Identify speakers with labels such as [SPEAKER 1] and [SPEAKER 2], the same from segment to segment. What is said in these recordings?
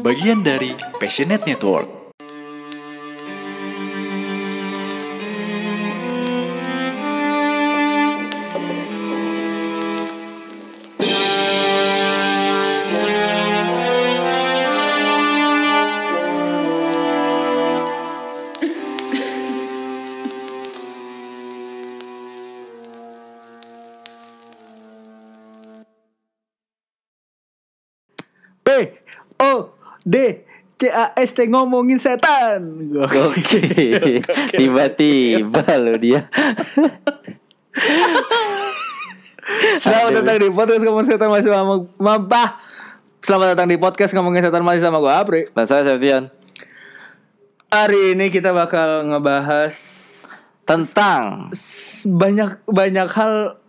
[SPEAKER 1] bagian dari Passionate Network.
[SPEAKER 2] P O D C A S T ngomongin setan.
[SPEAKER 3] Oke, tiba-tiba lo dia.
[SPEAKER 2] Selamat datang di podcast ngomongin setan masih sama Mampah. Selamat datang di podcast ngomongin setan masih sama gue Apri.
[SPEAKER 3] Mas saya Septian
[SPEAKER 2] Hari ini kita bakal ngebahas
[SPEAKER 3] tentang
[SPEAKER 2] s- banyak banyak hal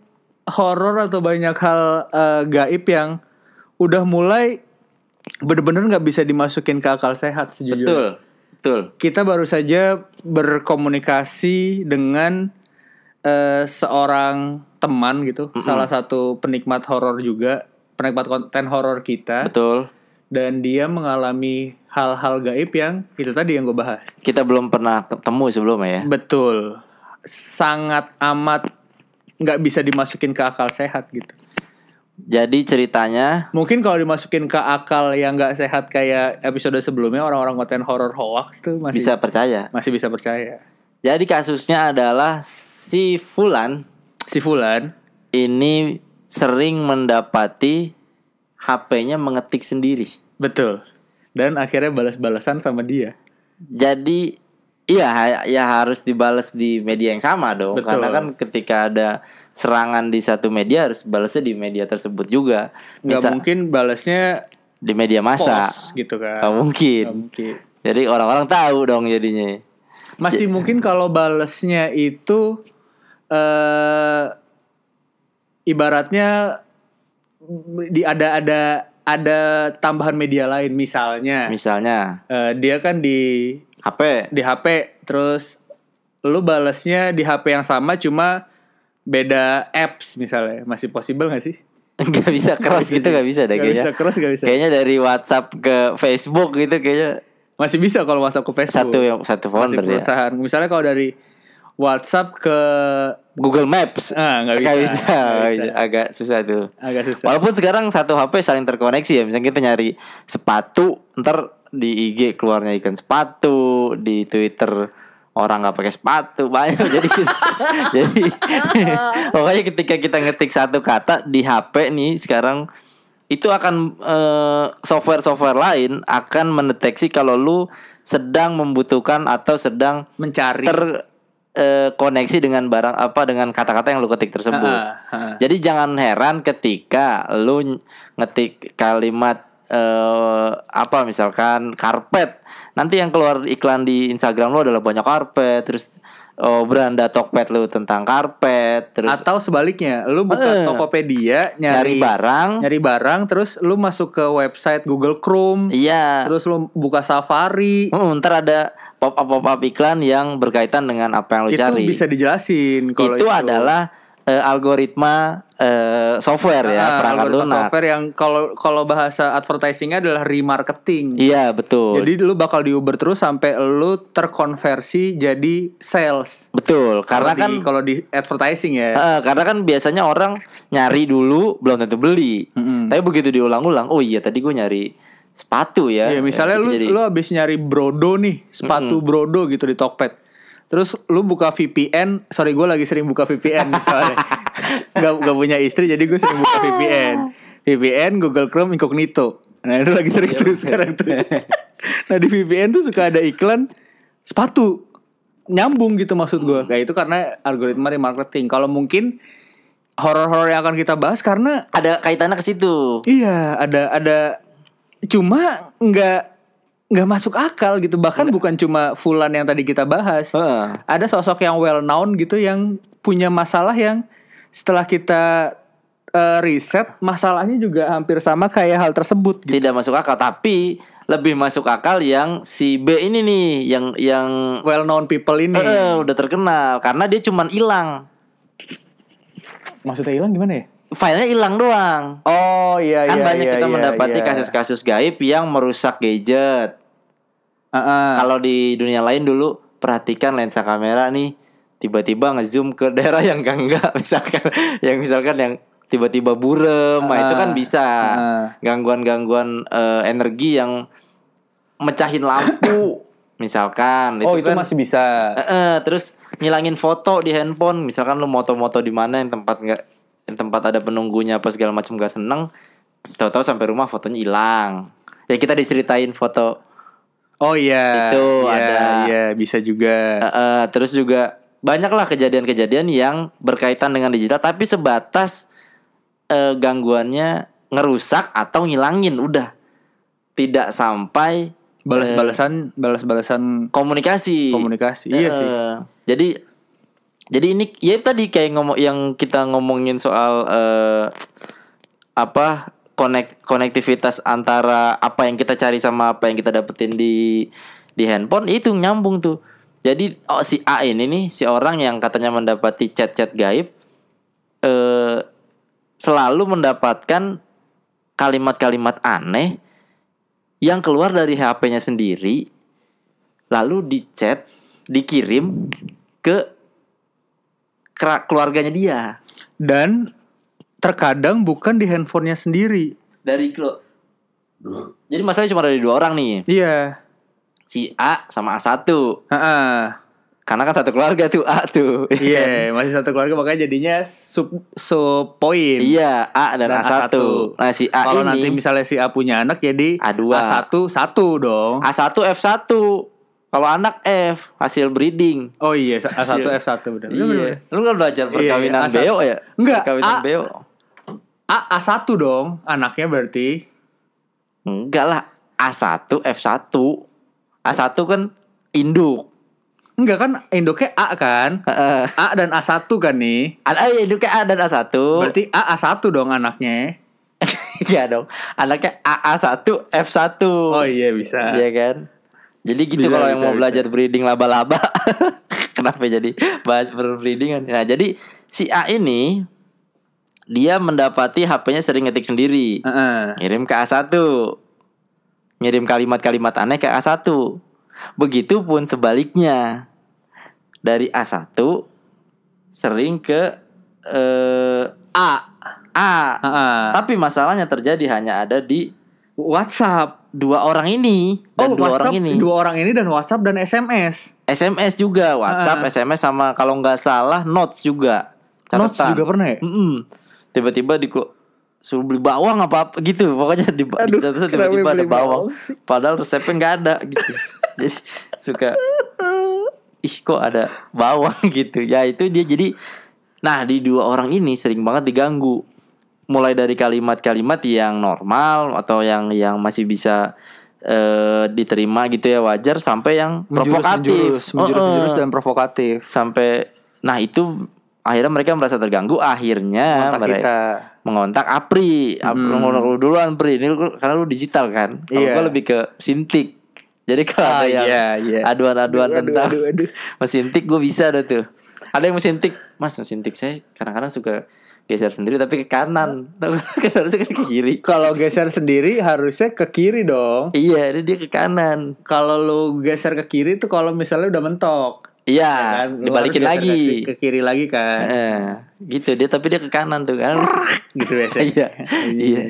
[SPEAKER 2] horor atau banyak hal eh, gaib yang udah mulai bener-bener nggak bisa dimasukin ke akal sehat sejujurnya.
[SPEAKER 3] betul betul
[SPEAKER 2] kita baru saja berkomunikasi dengan eh, seorang teman gitu, salah satu penikmat horor juga, penikmat konten horor kita,
[SPEAKER 3] betul
[SPEAKER 2] dan dia mengalami hal-hal gaib yang itu tadi yang gue bahas.
[SPEAKER 3] kita belum pernah ketemu sebelumnya ya.
[SPEAKER 2] Betul, sangat amat nggak bisa dimasukin ke akal sehat gitu.
[SPEAKER 3] Jadi ceritanya
[SPEAKER 2] Mungkin kalau dimasukin ke akal yang nggak sehat kayak episode sebelumnya orang-orang konten horor hoax tuh masih
[SPEAKER 3] bisa percaya.
[SPEAKER 2] masih bisa percaya.
[SPEAKER 3] Jadi kasusnya adalah si Fulan
[SPEAKER 2] Si Fulan
[SPEAKER 3] ini sering mendapati HP-nya mengetik sendiri.
[SPEAKER 2] Betul. Dan akhirnya balas-balasan sama dia.
[SPEAKER 3] Jadi iya ha- ya harus dibalas di media yang sama dong.
[SPEAKER 2] Betul.
[SPEAKER 3] Karena kan ketika ada serangan di satu media harus balasnya di media tersebut juga.
[SPEAKER 2] Nggak
[SPEAKER 3] Bisa
[SPEAKER 2] mungkin balasnya
[SPEAKER 3] di media massa.
[SPEAKER 2] post gitu kan.
[SPEAKER 3] Nggak mungkin.
[SPEAKER 2] Nggak mungkin.
[SPEAKER 3] Jadi orang-orang tahu dong jadinya.
[SPEAKER 2] Masih
[SPEAKER 3] Iya.
[SPEAKER 2] mungkin kalau balasnya itu eh ibaratnya di ada ada ada tambahan media lain misalnya
[SPEAKER 3] Misalnya
[SPEAKER 2] eh, dia kan di
[SPEAKER 3] HP
[SPEAKER 2] di HP terus lu balasnya di HP yang sama cuma beda apps misalnya masih possible gak sih?
[SPEAKER 3] nggak bisa cross gitu nggak bisa deh
[SPEAKER 2] Nggak bisa
[SPEAKER 3] kayaknya.
[SPEAKER 2] cross gak bisa.
[SPEAKER 3] Kayaknya dari WhatsApp ke Facebook gitu kayaknya
[SPEAKER 2] Masih bisa kalau WhatsApp ke Facebook.
[SPEAKER 3] satu yang satu
[SPEAKER 2] Masih
[SPEAKER 3] folder ya.
[SPEAKER 2] perusahaan. Misalnya kalau dari WhatsApp ke
[SPEAKER 3] Google Maps
[SPEAKER 2] ah nggak bisa.
[SPEAKER 3] nggak bisa.
[SPEAKER 2] Nggak bisa.
[SPEAKER 3] agak susah tuh.
[SPEAKER 2] Agak susah.
[SPEAKER 3] Walaupun sekarang satu HP saling terkoneksi ya. Misalnya kita nyari sepatu, ntar di IG keluarnya ikan sepatu, di Twitter orang nggak pakai sepatu banyak jadi kita- jadi pokoknya ketika kita ngetik satu kata di HP nih sekarang itu akan eh, software-software lain akan mendeteksi kalau lu sedang membutuhkan atau sedang
[SPEAKER 2] Mencari.
[SPEAKER 3] terkoneksi eh, dengan barang apa dengan kata-kata yang lu ketik tersebut.
[SPEAKER 2] Ah, ah.
[SPEAKER 3] Jadi jangan heran ketika lu ny- ngetik kalimat eh apa misalkan karpet. Nanti yang keluar iklan di Instagram lu adalah banyak karpet, terus oh, beranda Tokped lu tentang karpet, terus
[SPEAKER 2] Atau sebaliknya, lu buka Tokopedia
[SPEAKER 3] Eh. nyari
[SPEAKER 2] nyari,
[SPEAKER 3] barang.
[SPEAKER 2] nyari barang, terus lu masuk ke website Google Chrome,
[SPEAKER 3] Iya.
[SPEAKER 2] terus lu buka Safari,
[SPEAKER 3] Mm, ntar ada pop up pop up iklan yang berkaitan dengan apa yang Oh, lu
[SPEAKER 2] itu
[SPEAKER 3] cari.
[SPEAKER 2] bisa dijelasin kalau
[SPEAKER 3] itu, adalah eh, algoritma eh, software
[SPEAKER 2] Ah,
[SPEAKER 3] ya perangkat
[SPEAKER 2] algoritma
[SPEAKER 3] lunak.
[SPEAKER 2] software yang kalau kalau bahasa advertisingnya adalah remarketing.
[SPEAKER 3] Iya betul.
[SPEAKER 2] Jadi lu bakal diuber terus sampai lu terkonversi jadi sales.
[SPEAKER 3] betul karena kan
[SPEAKER 2] kalau di advertising ya.
[SPEAKER 3] eh, karena kan biasanya orang nyari dulu belum tentu beli. Tapi begitu diulang-ulang, oh iya tadi gue nyari sepatu ya.
[SPEAKER 2] Ya misalnya
[SPEAKER 3] Eh,
[SPEAKER 2] lu
[SPEAKER 3] jadi-
[SPEAKER 2] lu habis nyari brodo nih, sepatu brodo gitu di Tokped. Terus lu buka VPN, sorry gue lagi sering buka VPN misalnya. gak, gak punya istri jadi gue sering buka VPN. VPN Google Chrome Incognito. Nah, itu lagi
[SPEAKER 3] Iya,
[SPEAKER 2] sering tuh sekarang tuh. nah, di VPN tuh suka ada iklan sepatu nyambung gitu maksud
[SPEAKER 3] Mm.
[SPEAKER 2] gue. Kayak itu karena algoritma remarketing. Kalau mungkin horor-horor yang akan kita bahas karena
[SPEAKER 3] ada kaitannya ke situ.
[SPEAKER 2] Iya, ada ada cuma nggak nggak masuk akal gitu. Bahkan bukan cuma Fulan yang tadi kita bahas.
[SPEAKER 3] Iya. Heeh.
[SPEAKER 2] Ada sosok yang well known gitu yang punya masalah yang setelah kita eh, riset masalahnya juga hampir sama kayak hal tersebut. Gitu.
[SPEAKER 3] Tidak masuk akal tapi lebih masuk akal yang si B ini nih yang yang
[SPEAKER 2] Well known people ini.
[SPEAKER 3] eh, eh, udah terkenal karena dia cuman hilang.
[SPEAKER 2] Maksudnya hilang gimana ya?
[SPEAKER 3] filenya hilang doang.
[SPEAKER 2] Oh iya
[SPEAKER 3] Kan
[SPEAKER 2] iya.
[SPEAKER 3] banyak
[SPEAKER 2] iya,
[SPEAKER 3] kita
[SPEAKER 2] iya,
[SPEAKER 3] mendapati
[SPEAKER 2] iya.
[SPEAKER 3] kasus-kasus gaib yang merusak gadget.
[SPEAKER 2] Heeh.
[SPEAKER 3] Kalau di dunia lain dulu perhatikan lensa kamera nih tiba-tiba ngezoom ke daerah yang enggak enggak misalkan yang misalkan yang tiba-tiba burem nah, itu kan bisa
[SPEAKER 2] Ah.
[SPEAKER 3] gangguan-gangguan eh, energi yang mecahin lampu misalkan
[SPEAKER 2] Oh itu
[SPEAKER 3] kan-
[SPEAKER 2] masih bisa.
[SPEAKER 3] Eh, eh, terus ngilangin foto di handphone misalkan lu moto-moto di mana yang tempat enggak yang tempat ada penunggunya apa segala macam gak seneng tahu-tahu sampai rumah fotonya hilang ya kita diceritain foto
[SPEAKER 2] Oh iya.
[SPEAKER 3] Itu
[SPEAKER 2] Iya,
[SPEAKER 3] ada.
[SPEAKER 2] Iya bisa juga.
[SPEAKER 3] Eh, eh, terus juga banyaklah kejadian-kejadian yang berkaitan dengan digital tapi sebatas eh, gangguannya ngerusak atau ngilangin udah tidak sampai
[SPEAKER 2] Balas-balasan, balas-balasan
[SPEAKER 3] komunikasi
[SPEAKER 2] komunikasi. Iya
[SPEAKER 3] Eh,
[SPEAKER 2] sih.
[SPEAKER 3] jadi jadi ini ya tadi kayak ngomong yang kita ngomongin soal eh, apa konek konektivitas antara apa yang kita cari sama apa yang kita dapetin di di handphone itu nyambung tuh. Jadi oh, si A ini nih si orang yang katanya mendapati chat-chat gaib eh selalu mendapatkan kalimat-kalimat aneh yang keluar dari HP-nya sendiri lalu di chat dikirim ke kera- keluarganya dia
[SPEAKER 2] Dan terkadang bukan di handphonenya sendiri.
[SPEAKER 3] dari klo jadi masalahnya cuma dari dua orang nih
[SPEAKER 2] Iya.
[SPEAKER 3] si A sama A1
[SPEAKER 2] Heeh.
[SPEAKER 3] karena kan satu keluarga tuh A tuh
[SPEAKER 2] Iya, masih satu keluarga makanya jadinya sub sub poin.
[SPEAKER 3] iya A dan,
[SPEAKER 2] Dan
[SPEAKER 3] A1. nah si A
[SPEAKER 2] Kalau
[SPEAKER 3] ini
[SPEAKER 2] nanti misalnya si A punya anak jadi
[SPEAKER 3] A2.
[SPEAKER 2] A1 satu dong.
[SPEAKER 3] A1 F1 kalau anak F hasil breeding
[SPEAKER 2] Oh iya, A1 F1 benar. Benar, benar, benar.
[SPEAKER 3] Iya. Lu nggak belajar
[SPEAKER 2] Iya,
[SPEAKER 3] perkawinan
[SPEAKER 2] iya, A1.
[SPEAKER 3] beo ya?
[SPEAKER 2] Enggak,
[SPEAKER 3] Perkawinan
[SPEAKER 2] A-
[SPEAKER 3] beo.
[SPEAKER 2] A A1 dong anaknya berarti.
[SPEAKER 3] Enggak lah. A1, F1. A1 kan induk.
[SPEAKER 2] Enggak kan indoknya A kan?
[SPEAKER 3] Heeh.
[SPEAKER 2] A dan A1 kan nih.
[SPEAKER 3] Ada eh, induknya A dan A1.
[SPEAKER 2] Berarti A A1 dong anaknya.
[SPEAKER 3] Iya dong. Anaknya AA1, F1.
[SPEAKER 2] Oh iya bisa.
[SPEAKER 3] Iya kan? Jadi gitu
[SPEAKER 2] Bisa,
[SPEAKER 3] kalau yang
[SPEAKER 2] bisa,
[SPEAKER 3] mau
[SPEAKER 2] bisa.
[SPEAKER 3] belajar breeding laba-laba. Kenapa jadi bahas perbreedingan? Nah, jadi si A ini dia mendapati HP-nya sering ngetik sendiri.
[SPEAKER 2] Heeh.
[SPEAKER 3] Ngirim ke A1 Ngirim kalimat-kalimat aneh ke A1 Begitupun sebaliknya Dari A1 Sering ke eh, A A
[SPEAKER 2] Heeh.
[SPEAKER 3] Tapi masalahnya terjadi hanya ada di
[SPEAKER 2] WhatsApp.
[SPEAKER 3] Dua orang ini
[SPEAKER 2] Oh,
[SPEAKER 3] Dan dua
[SPEAKER 2] WhatsApp,
[SPEAKER 3] orang ini
[SPEAKER 2] dua orang ini dan WhatsApp dan SMS.
[SPEAKER 3] SMS juga WhatsApp,
[SPEAKER 2] Ah.
[SPEAKER 3] SMS sama kalau nggak salah Notes juga
[SPEAKER 2] Notes juga pernah ya?
[SPEAKER 3] Mm-mm. Tiba-tiba di suruh beli bawang apa, apa gitu pokoknya di
[SPEAKER 2] Aduh,
[SPEAKER 3] di- terus
[SPEAKER 2] kenapa
[SPEAKER 3] tiba-tiba ada
[SPEAKER 2] beli
[SPEAKER 3] bawang
[SPEAKER 2] bawang sih?
[SPEAKER 3] padahal resepnya nggak ada gitu jadi suka ih kok ada bawang gitu ya itu dia jadi nah di dua orang ini sering banget diganggu mulai dari kalimat-kalimat yang normal atau yang yang masih bisa eh, diterima gitu ya wajar sampai yang provokatif
[SPEAKER 2] menjurus, menjurus,
[SPEAKER 3] Oh,
[SPEAKER 2] menjurus
[SPEAKER 3] eh
[SPEAKER 2] dan provokatif.
[SPEAKER 3] sampai nah itu akhirnya mereka merasa terganggu akhirnya
[SPEAKER 2] Kontak
[SPEAKER 3] mereka
[SPEAKER 2] kita. Hmm.
[SPEAKER 3] mengontak Apri Ap- lu ngontak lu duluan Pri ini lu, karena lu digital kan kalau
[SPEAKER 2] Iya.
[SPEAKER 3] gua lebih ke sintik jadi kalau
[SPEAKER 2] Ah,
[SPEAKER 3] ada yang
[SPEAKER 2] iya, iya.
[SPEAKER 3] aduan-aduan
[SPEAKER 2] Aduh, aduh,
[SPEAKER 3] tentang
[SPEAKER 2] aduh, aduh.
[SPEAKER 3] mesin tik gue bisa ada tuh ada yang mesin tik mas mesin tik saya kadang-kadang suka geser sendiri tapi ke kanan Tahu, harusnya kan ke kiri
[SPEAKER 2] Kalau geser sendiri harusnya ke kiri dong.
[SPEAKER 3] iya dia- dia ke kanan
[SPEAKER 2] Kalau lu geser ke kiri tuh kalau misalnya udah mentok. Ya kan?
[SPEAKER 3] iya
[SPEAKER 2] Lu
[SPEAKER 3] dibalikin
[SPEAKER 2] harus geser
[SPEAKER 3] lagi
[SPEAKER 2] ke- Ke kiri lagi kan.
[SPEAKER 3] Eh, gitu dia tapi dia ke kanan tuh kan
[SPEAKER 2] gitu biasanya.
[SPEAKER 3] iya iya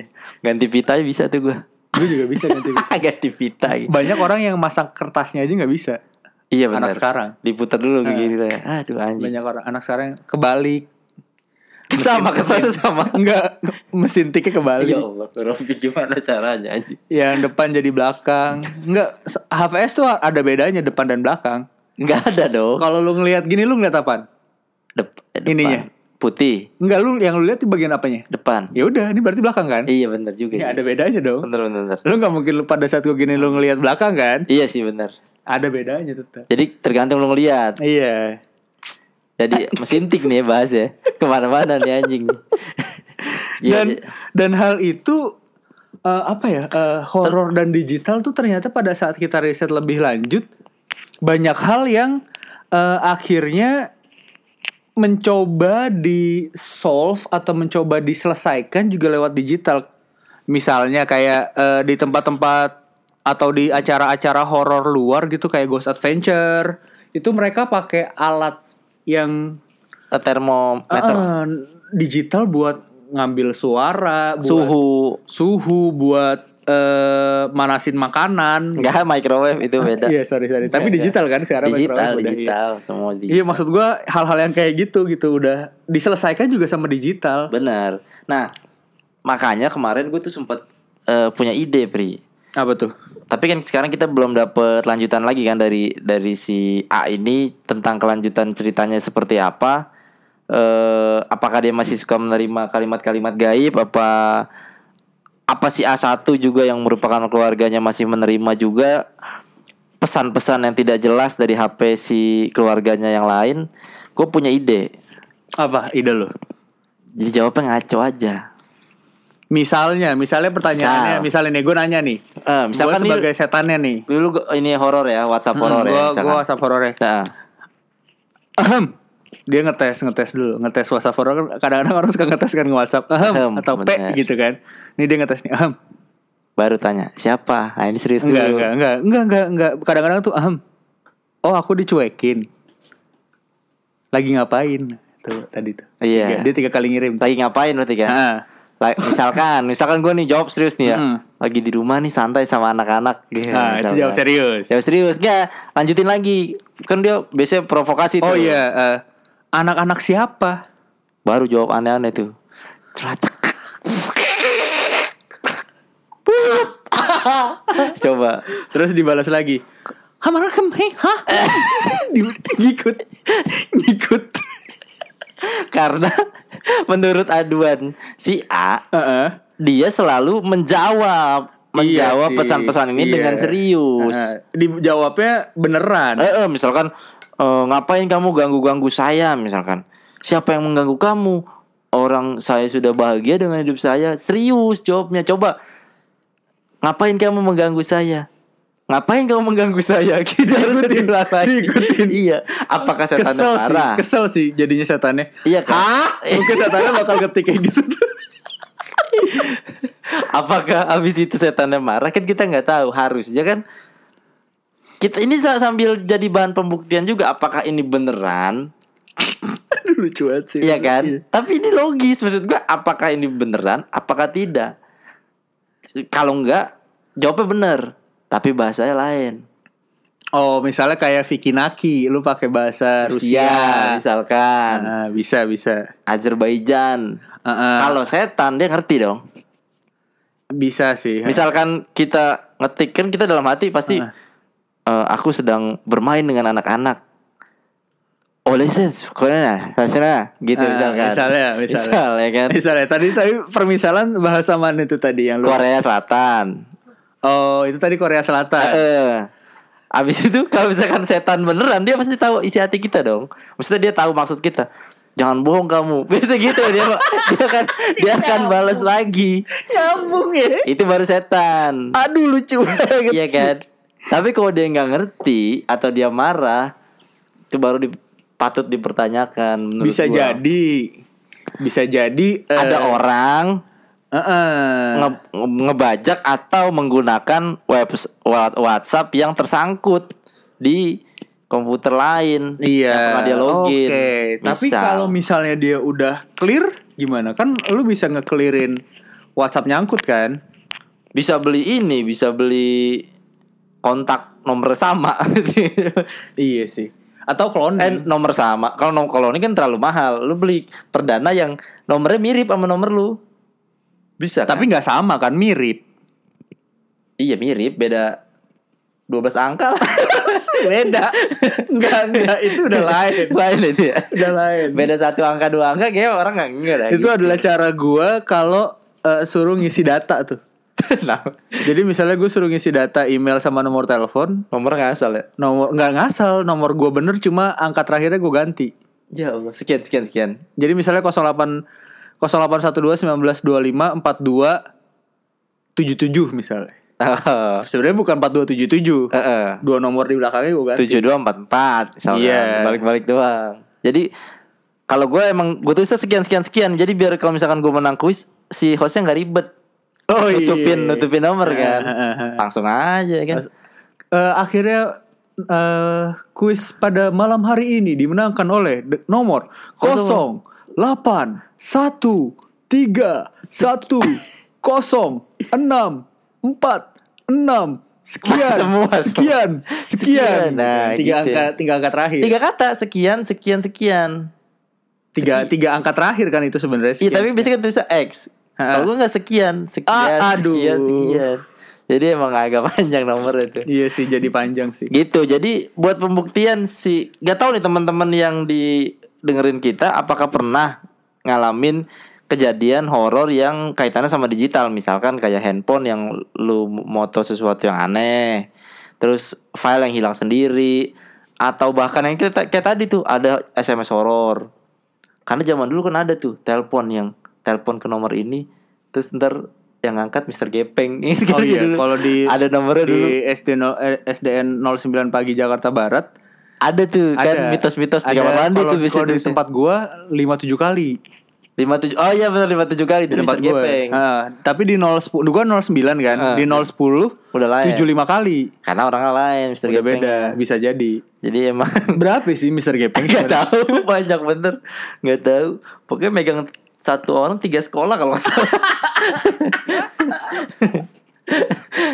[SPEAKER 3] ganti pita bisa tuh gua
[SPEAKER 2] Gue juga bisa ganti.
[SPEAKER 3] ganti pita gitu.
[SPEAKER 2] Banyak orang yang masang kertasnya aja nggak bisa.
[SPEAKER 3] Iya benar.
[SPEAKER 2] Anak sekarang.
[SPEAKER 3] Diputar dulu ke kiri deh. Aduh anjing.
[SPEAKER 2] Banyak orang anak sekarang yang kebalik.
[SPEAKER 3] Sama kertasnya sama.
[SPEAKER 2] Enggak, mesin tiknya kebalik.
[SPEAKER 3] Ya Allah, Rofi gimana caranya anjing?
[SPEAKER 2] Iya, Yang depan jadi belakang. Enggak, se- HVS tuh ada bedanya depan dan belakang.
[SPEAKER 3] Enggak ada dong.
[SPEAKER 2] Kalau lu ngelihat gini lu ngeliat apaan?
[SPEAKER 3] Dep- eh, depan.
[SPEAKER 2] Ininya.
[SPEAKER 3] Putih
[SPEAKER 2] Enggak, lu yang lu lihat di bagian apanya?
[SPEAKER 3] depan.
[SPEAKER 2] Ya udah, ini berarti belakang kan?
[SPEAKER 3] Iya benar juga.
[SPEAKER 2] Ya ada bedanya dong.
[SPEAKER 3] Bener bener. bener.
[SPEAKER 2] Lu nggak mungkin lu pada saat gue gini lu ngelihat belakang kan?
[SPEAKER 3] Iya sih bener.
[SPEAKER 2] Ada bedanya tetap.
[SPEAKER 3] Jadi tergantung lu ngeliat.
[SPEAKER 2] Iya.
[SPEAKER 3] Jadi mesin tik nih ya bahas ya. Kemana-mana nih anjing. Iya,
[SPEAKER 2] Dan
[SPEAKER 3] iya.
[SPEAKER 2] dan hal itu eh, apa ya? eh, horor dan digital tuh ternyata pada saat kita riset lebih lanjut banyak hal yang eh, akhirnya mencoba di solve atau mencoba diselesaikan juga lewat digital. Misalnya kayak eh, di tempat-tempat atau di acara-acara horor luar gitu kayak Ghost Adventure, itu mereka pakai alat yang
[SPEAKER 3] Eh, termometer
[SPEAKER 2] eh, digital buat ngambil suara, buat
[SPEAKER 3] suhu
[SPEAKER 2] suhu, buat eh, manasin makanan.
[SPEAKER 3] enggak microwave itu beda
[SPEAKER 2] Iya, sorry sorry. Tapi
[SPEAKER 3] Iya,
[SPEAKER 2] digital kan sekarang
[SPEAKER 3] digital
[SPEAKER 2] microwave udah, iya.
[SPEAKER 3] digital semua digital
[SPEAKER 2] Iya maksud gua hal-hal yang kayak gitu gitu udah diselesaikan juga sama digital.
[SPEAKER 3] benar nah makanya kemarin gue tuh sempet eh, punya ide pri
[SPEAKER 2] Apa tuh?
[SPEAKER 3] tapi kan sekarang kita belum dapet lanjutan lagi kan dari dari si A ini tentang kelanjutan ceritanya seperti apa eh apakah dia masih suka menerima kalimat-kalimat gaib apa apa si A1 juga yang merupakan keluarganya masih menerima juga pesan-pesan yang tidak jelas dari HP si keluarganya yang lain gue punya ide
[SPEAKER 2] Apa ide lo?
[SPEAKER 3] jadi jawabnya ngaco aja
[SPEAKER 2] Misalnya, misalnya pertanyaannya,
[SPEAKER 3] Misal.
[SPEAKER 2] misalnya nih gue nanya nih.
[SPEAKER 3] Eh,
[SPEAKER 2] gua
[SPEAKER 3] misalkan ini-
[SPEAKER 2] sebagai setannya nih.
[SPEAKER 3] dulu gua- ini horor ya WhatsApp horor ya
[SPEAKER 2] Mm, gua,
[SPEAKER 3] misalkan.
[SPEAKER 2] gua WhatsApp horornya.
[SPEAKER 3] Nah,
[SPEAKER 2] Ahem. Dia ngetes, ngetes dulu, ngetes WhatsApp horor kan kadang-kadang orang suka ngetes kan ke WhatsApp. Ahem,
[SPEAKER 3] Ahem,
[SPEAKER 2] atau P
[SPEAKER 3] bener.
[SPEAKER 2] gitu kan. Ini dia ngetes nih. Ahem.
[SPEAKER 3] baru tanya siapa nah, ini serius
[SPEAKER 2] Enggak,
[SPEAKER 3] dulu
[SPEAKER 2] enggak, enggak, enggak, enggak, enggak. Kadang-kadang tuh ahem. Oh, aku dicuekin. Lagi ngapain? Tuh tadi tuh.
[SPEAKER 3] Iya.
[SPEAKER 2] Tiga- Dia tiga kali ngirim. Nah,
[SPEAKER 3] lagi ngapain berarti kan?
[SPEAKER 2] Heeh.
[SPEAKER 3] La- misalkan, misalkan gue nih jawab serius nih ya,
[SPEAKER 2] Mm.
[SPEAKER 3] lagi di rumah nih santai sama anak-anak. gitu
[SPEAKER 2] Nah, itu
[SPEAKER 3] misalkan.
[SPEAKER 2] jawab serius.
[SPEAKER 3] Jawab serius gak? Lanjutin lagi, kan dia biasanya provokasi.
[SPEAKER 2] Oh
[SPEAKER 3] tuh.
[SPEAKER 2] iya, eh, anak-anak siapa?
[SPEAKER 3] Baru jawab aneh-aneh tuh. Celacek. Coba
[SPEAKER 2] Terus dibalas lagi. Hamar kem, hei, hah? Di- ngikut, ngikut.
[SPEAKER 3] Karena menurut aduan Si A
[SPEAKER 2] Heeh.
[SPEAKER 3] Dia selalu menjawab
[SPEAKER 2] Iya
[SPEAKER 3] Menjawab
[SPEAKER 2] sih,
[SPEAKER 3] pesan-pesan ini
[SPEAKER 2] iya.
[SPEAKER 3] dengan serius
[SPEAKER 2] Heeh. Dijawabnya beneran.
[SPEAKER 3] Eh, eh, misalkan eh, ngapain kamu ganggu-ganggu saya misalkan. Siapa yang mengganggu kamu? Orang saya sudah bahagia dengan hidup saya. Serius jawabnya. Coba ngapain kamu mengganggu saya? Ngapain kamu mengganggu saya? Kita harus
[SPEAKER 2] Diikutin,
[SPEAKER 3] diulang lagi.
[SPEAKER 2] diikutin.
[SPEAKER 3] Iya. Apakah setan
[SPEAKER 2] kesel sih,
[SPEAKER 3] marah?
[SPEAKER 2] kesel sih jadinya setannya.
[SPEAKER 3] Iya kan?
[SPEAKER 2] Mungkin setannya bakal ketik kayak gitu.
[SPEAKER 3] Apakah abis itu setannya marah kan kita nggak tahu harusnya kan kita ini sa- sambil jadi bahan pembuktian juga apakah ini beneran
[SPEAKER 2] Aduh, lucu banget sih.
[SPEAKER 3] Iya kan? Tapi ini logis maksud gua apakah ini beneran apakah tidak? Kalau enggak jawabnya bener, tapi bahasanya lain.
[SPEAKER 2] Oh, misalnya kayak Vicky Naki, lu pakai
[SPEAKER 3] Iya.
[SPEAKER 2] bahasa Rusia.
[SPEAKER 3] misalkan
[SPEAKER 2] Ah, bisa, bisa.
[SPEAKER 3] Azerbaijan.
[SPEAKER 2] Heeh.
[SPEAKER 3] Kalau setan dia ngerti dong.
[SPEAKER 2] Bisa sih.
[SPEAKER 3] Misalkan kita ngetik kan kita dalam hati pasti "Eh, aku sedang bermain dengan anak-anak. Oh, Oleh ses, korena, sasena, gitu
[SPEAKER 2] Ah,
[SPEAKER 3] misalkan.
[SPEAKER 2] Misalnya, misalnya.
[SPEAKER 3] Misal, ya kan.
[SPEAKER 2] Misalnya tadi tapi permisalan bahasa mana itu tadi yang lu
[SPEAKER 3] Korea Selatan.
[SPEAKER 2] Oh, itu tadi Korea Selatan.
[SPEAKER 3] eh Abis itu kalau misalkan setan beneran dia pasti tahu isi hati kita dong. Maksudnya dia tahu maksud kita. Jangan bohong kamu. Biasa gitu dia dia akan dia akan balas lagi.
[SPEAKER 2] Nyambung ya.
[SPEAKER 3] Itu baru setan.
[SPEAKER 2] Aduh lucu banget.
[SPEAKER 3] Iya kan? Tapi kalau dia nggak ngerti atau dia marah itu baru di, patut dipertanyakan menurut
[SPEAKER 2] Bisa
[SPEAKER 3] gua.
[SPEAKER 2] jadi bisa jadi eh,
[SPEAKER 3] ada orang
[SPEAKER 2] eh-eh.
[SPEAKER 3] nge- nge- ngebajak atau menggunakan webs- wa- WhatsApp yang tersangkut di komputer lain
[SPEAKER 2] Iya.
[SPEAKER 3] yang pernah dia login.
[SPEAKER 2] Oke. Tapi
[SPEAKER 3] Misal.
[SPEAKER 2] kalau misalnya dia udah clear gimana? Kan lu bisa nge-clearin WhatsApp nyangkut kan?
[SPEAKER 3] bisa beli ini, bisa beli kontak nomor sama.
[SPEAKER 2] Iya sih. Atau
[SPEAKER 3] eh
[SPEAKER 2] cloning.
[SPEAKER 3] nomor sama. Kalau nomor kalau ini kan terlalu mahal. Lu beli perdana yang nomornya mirip sama nomor lu. Bisa
[SPEAKER 2] tapi
[SPEAKER 3] kan?
[SPEAKER 2] nggak sama kan mirip.
[SPEAKER 3] iya mirip, beda 12 angka lah.
[SPEAKER 2] Beda. Enggak, enggak itu udah lain.
[SPEAKER 3] Lain itu ya.
[SPEAKER 2] Udah lain.
[SPEAKER 3] Beda satu angka dua angka kayak orang nggak enggak dah.
[SPEAKER 2] itu adalah cara gua kalau eh, suruh ngisi data tuh. Nah.
[SPEAKER 3] Kenapa?
[SPEAKER 2] Jadi misalnya gue suruh ngisi data email sama nomor telepon,
[SPEAKER 3] Nomor nggak asal ya?
[SPEAKER 2] nomor nggak ngasal, nomor gua bener cuma angka terakhirnya gue ganti.
[SPEAKER 3] Ya Allah. Sekian, sekian, sekian.
[SPEAKER 2] Jadi misalnya 08 0812 1925 42 77 misalnya. Sebenarnya bukan 4277.
[SPEAKER 3] Heeh.
[SPEAKER 2] Dua nomor di belakangnya kan? gue ganti.
[SPEAKER 3] Tujuh dua empat empat. misalkan.
[SPEAKER 2] Iya.
[SPEAKER 3] Balik-balik doang. Jadi kalau gue emang gue tulisnya sekian sekian sekian jadi biar kalau misalkan gue menang kuis si hostnya nggak ribet
[SPEAKER 2] Oh, iya.
[SPEAKER 3] nutupin nutupin nomor kan langsung aja kan
[SPEAKER 2] Eh, akhirnya eh kuis pada malam hari ini dimenangkan oleh de- nomor 0 8 1 3 1 0 6 4 6 sekian
[SPEAKER 3] Semua, semua.
[SPEAKER 2] sekian sekian
[SPEAKER 3] Sekian. Nah,
[SPEAKER 2] tiga
[SPEAKER 3] gitu.
[SPEAKER 2] angka tiga angka terakhir
[SPEAKER 3] tiga kata sekian sekian sekian
[SPEAKER 2] tiga tiga angka terakhir kan itu sebenarnya
[SPEAKER 3] Iya
[SPEAKER 2] sekian,
[SPEAKER 3] tapi
[SPEAKER 2] sekian.
[SPEAKER 3] biasanya kan tulisnya X.
[SPEAKER 2] Ha.
[SPEAKER 3] Kalau gue nggak sekian, sekian,
[SPEAKER 2] Ah, aduh.
[SPEAKER 3] sekian, sekian. Jadi emang agak panjang nomor itu.
[SPEAKER 2] iya sih jadi panjang sih
[SPEAKER 3] Gitu. Jadi buat pembuktian si nggak tahu nih teman-teman yang di dengerin kita apakah pernah ngalamin kejadian horor yang kaitannya sama digital misalkan kayak handphone yang lu moto sesuatu yang aneh terus file yang hilang sendiri atau bahkan yang kita, kayak tadi tuh ada SMS horor karena zaman dulu kan ada tuh telepon yang telepon ke nomor ini terus ntar yang ngangkat Mister Gepeng ini
[SPEAKER 2] Oh
[SPEAKER 3] kan
[SPEAKER 2] iya,
[SPEAKER 3] dulu.
[SPEAKER 2] kalau di
[SPEAKER 3] ada nomornya dulu
[SPEAKER 2] di SD no- eh, SDN 09 pagi Jakarta Barat
[SPEAKER 3] ada tuh kan mitos-mitos di kamar mandi
[SPEAKER 2] Kalau-
[SPEAKER 3] tuh bisa
[SPEAKER 2] kalau di tempat gua 5-7 kali
[SPEAKER 3] lima tujuh oh iya benar lima tujuh kali
[SPEAKER 2] di
[SPEAKER 3] itu
[SPEAKER 2] tempat
[SPEAKER 3] Mister
[SPEAKER 2] gue.
[SPEAKER 3] Gepeng
[SPEAKER 2] Ah, tapi di 010 gua 09 kan.
[SPEAKER 3] Ah.
[SPEAKER 2] di 010
[SPEAKER 3] Udah lain.
[SPEAKER 2] 75 kali.
[SPEAKER 3] karena orangnya lain Mister
[SPEAKER 2] Udah
[SPEAKER 3] Gepeng ya.
[SPEAKER 2] beda, bisa jadi.
[SPEAKER 3] jadi emang
[SPEAKER 2] Berapa sih Mr. Gepeng?
[SPEAKER 3] nggak
[SPEAKER 2] sebenarnya?
[SPEAKER 3] tahu banyak bener nggak tahu pokoknya megang satu orang tiga sekolah kalau nggak salah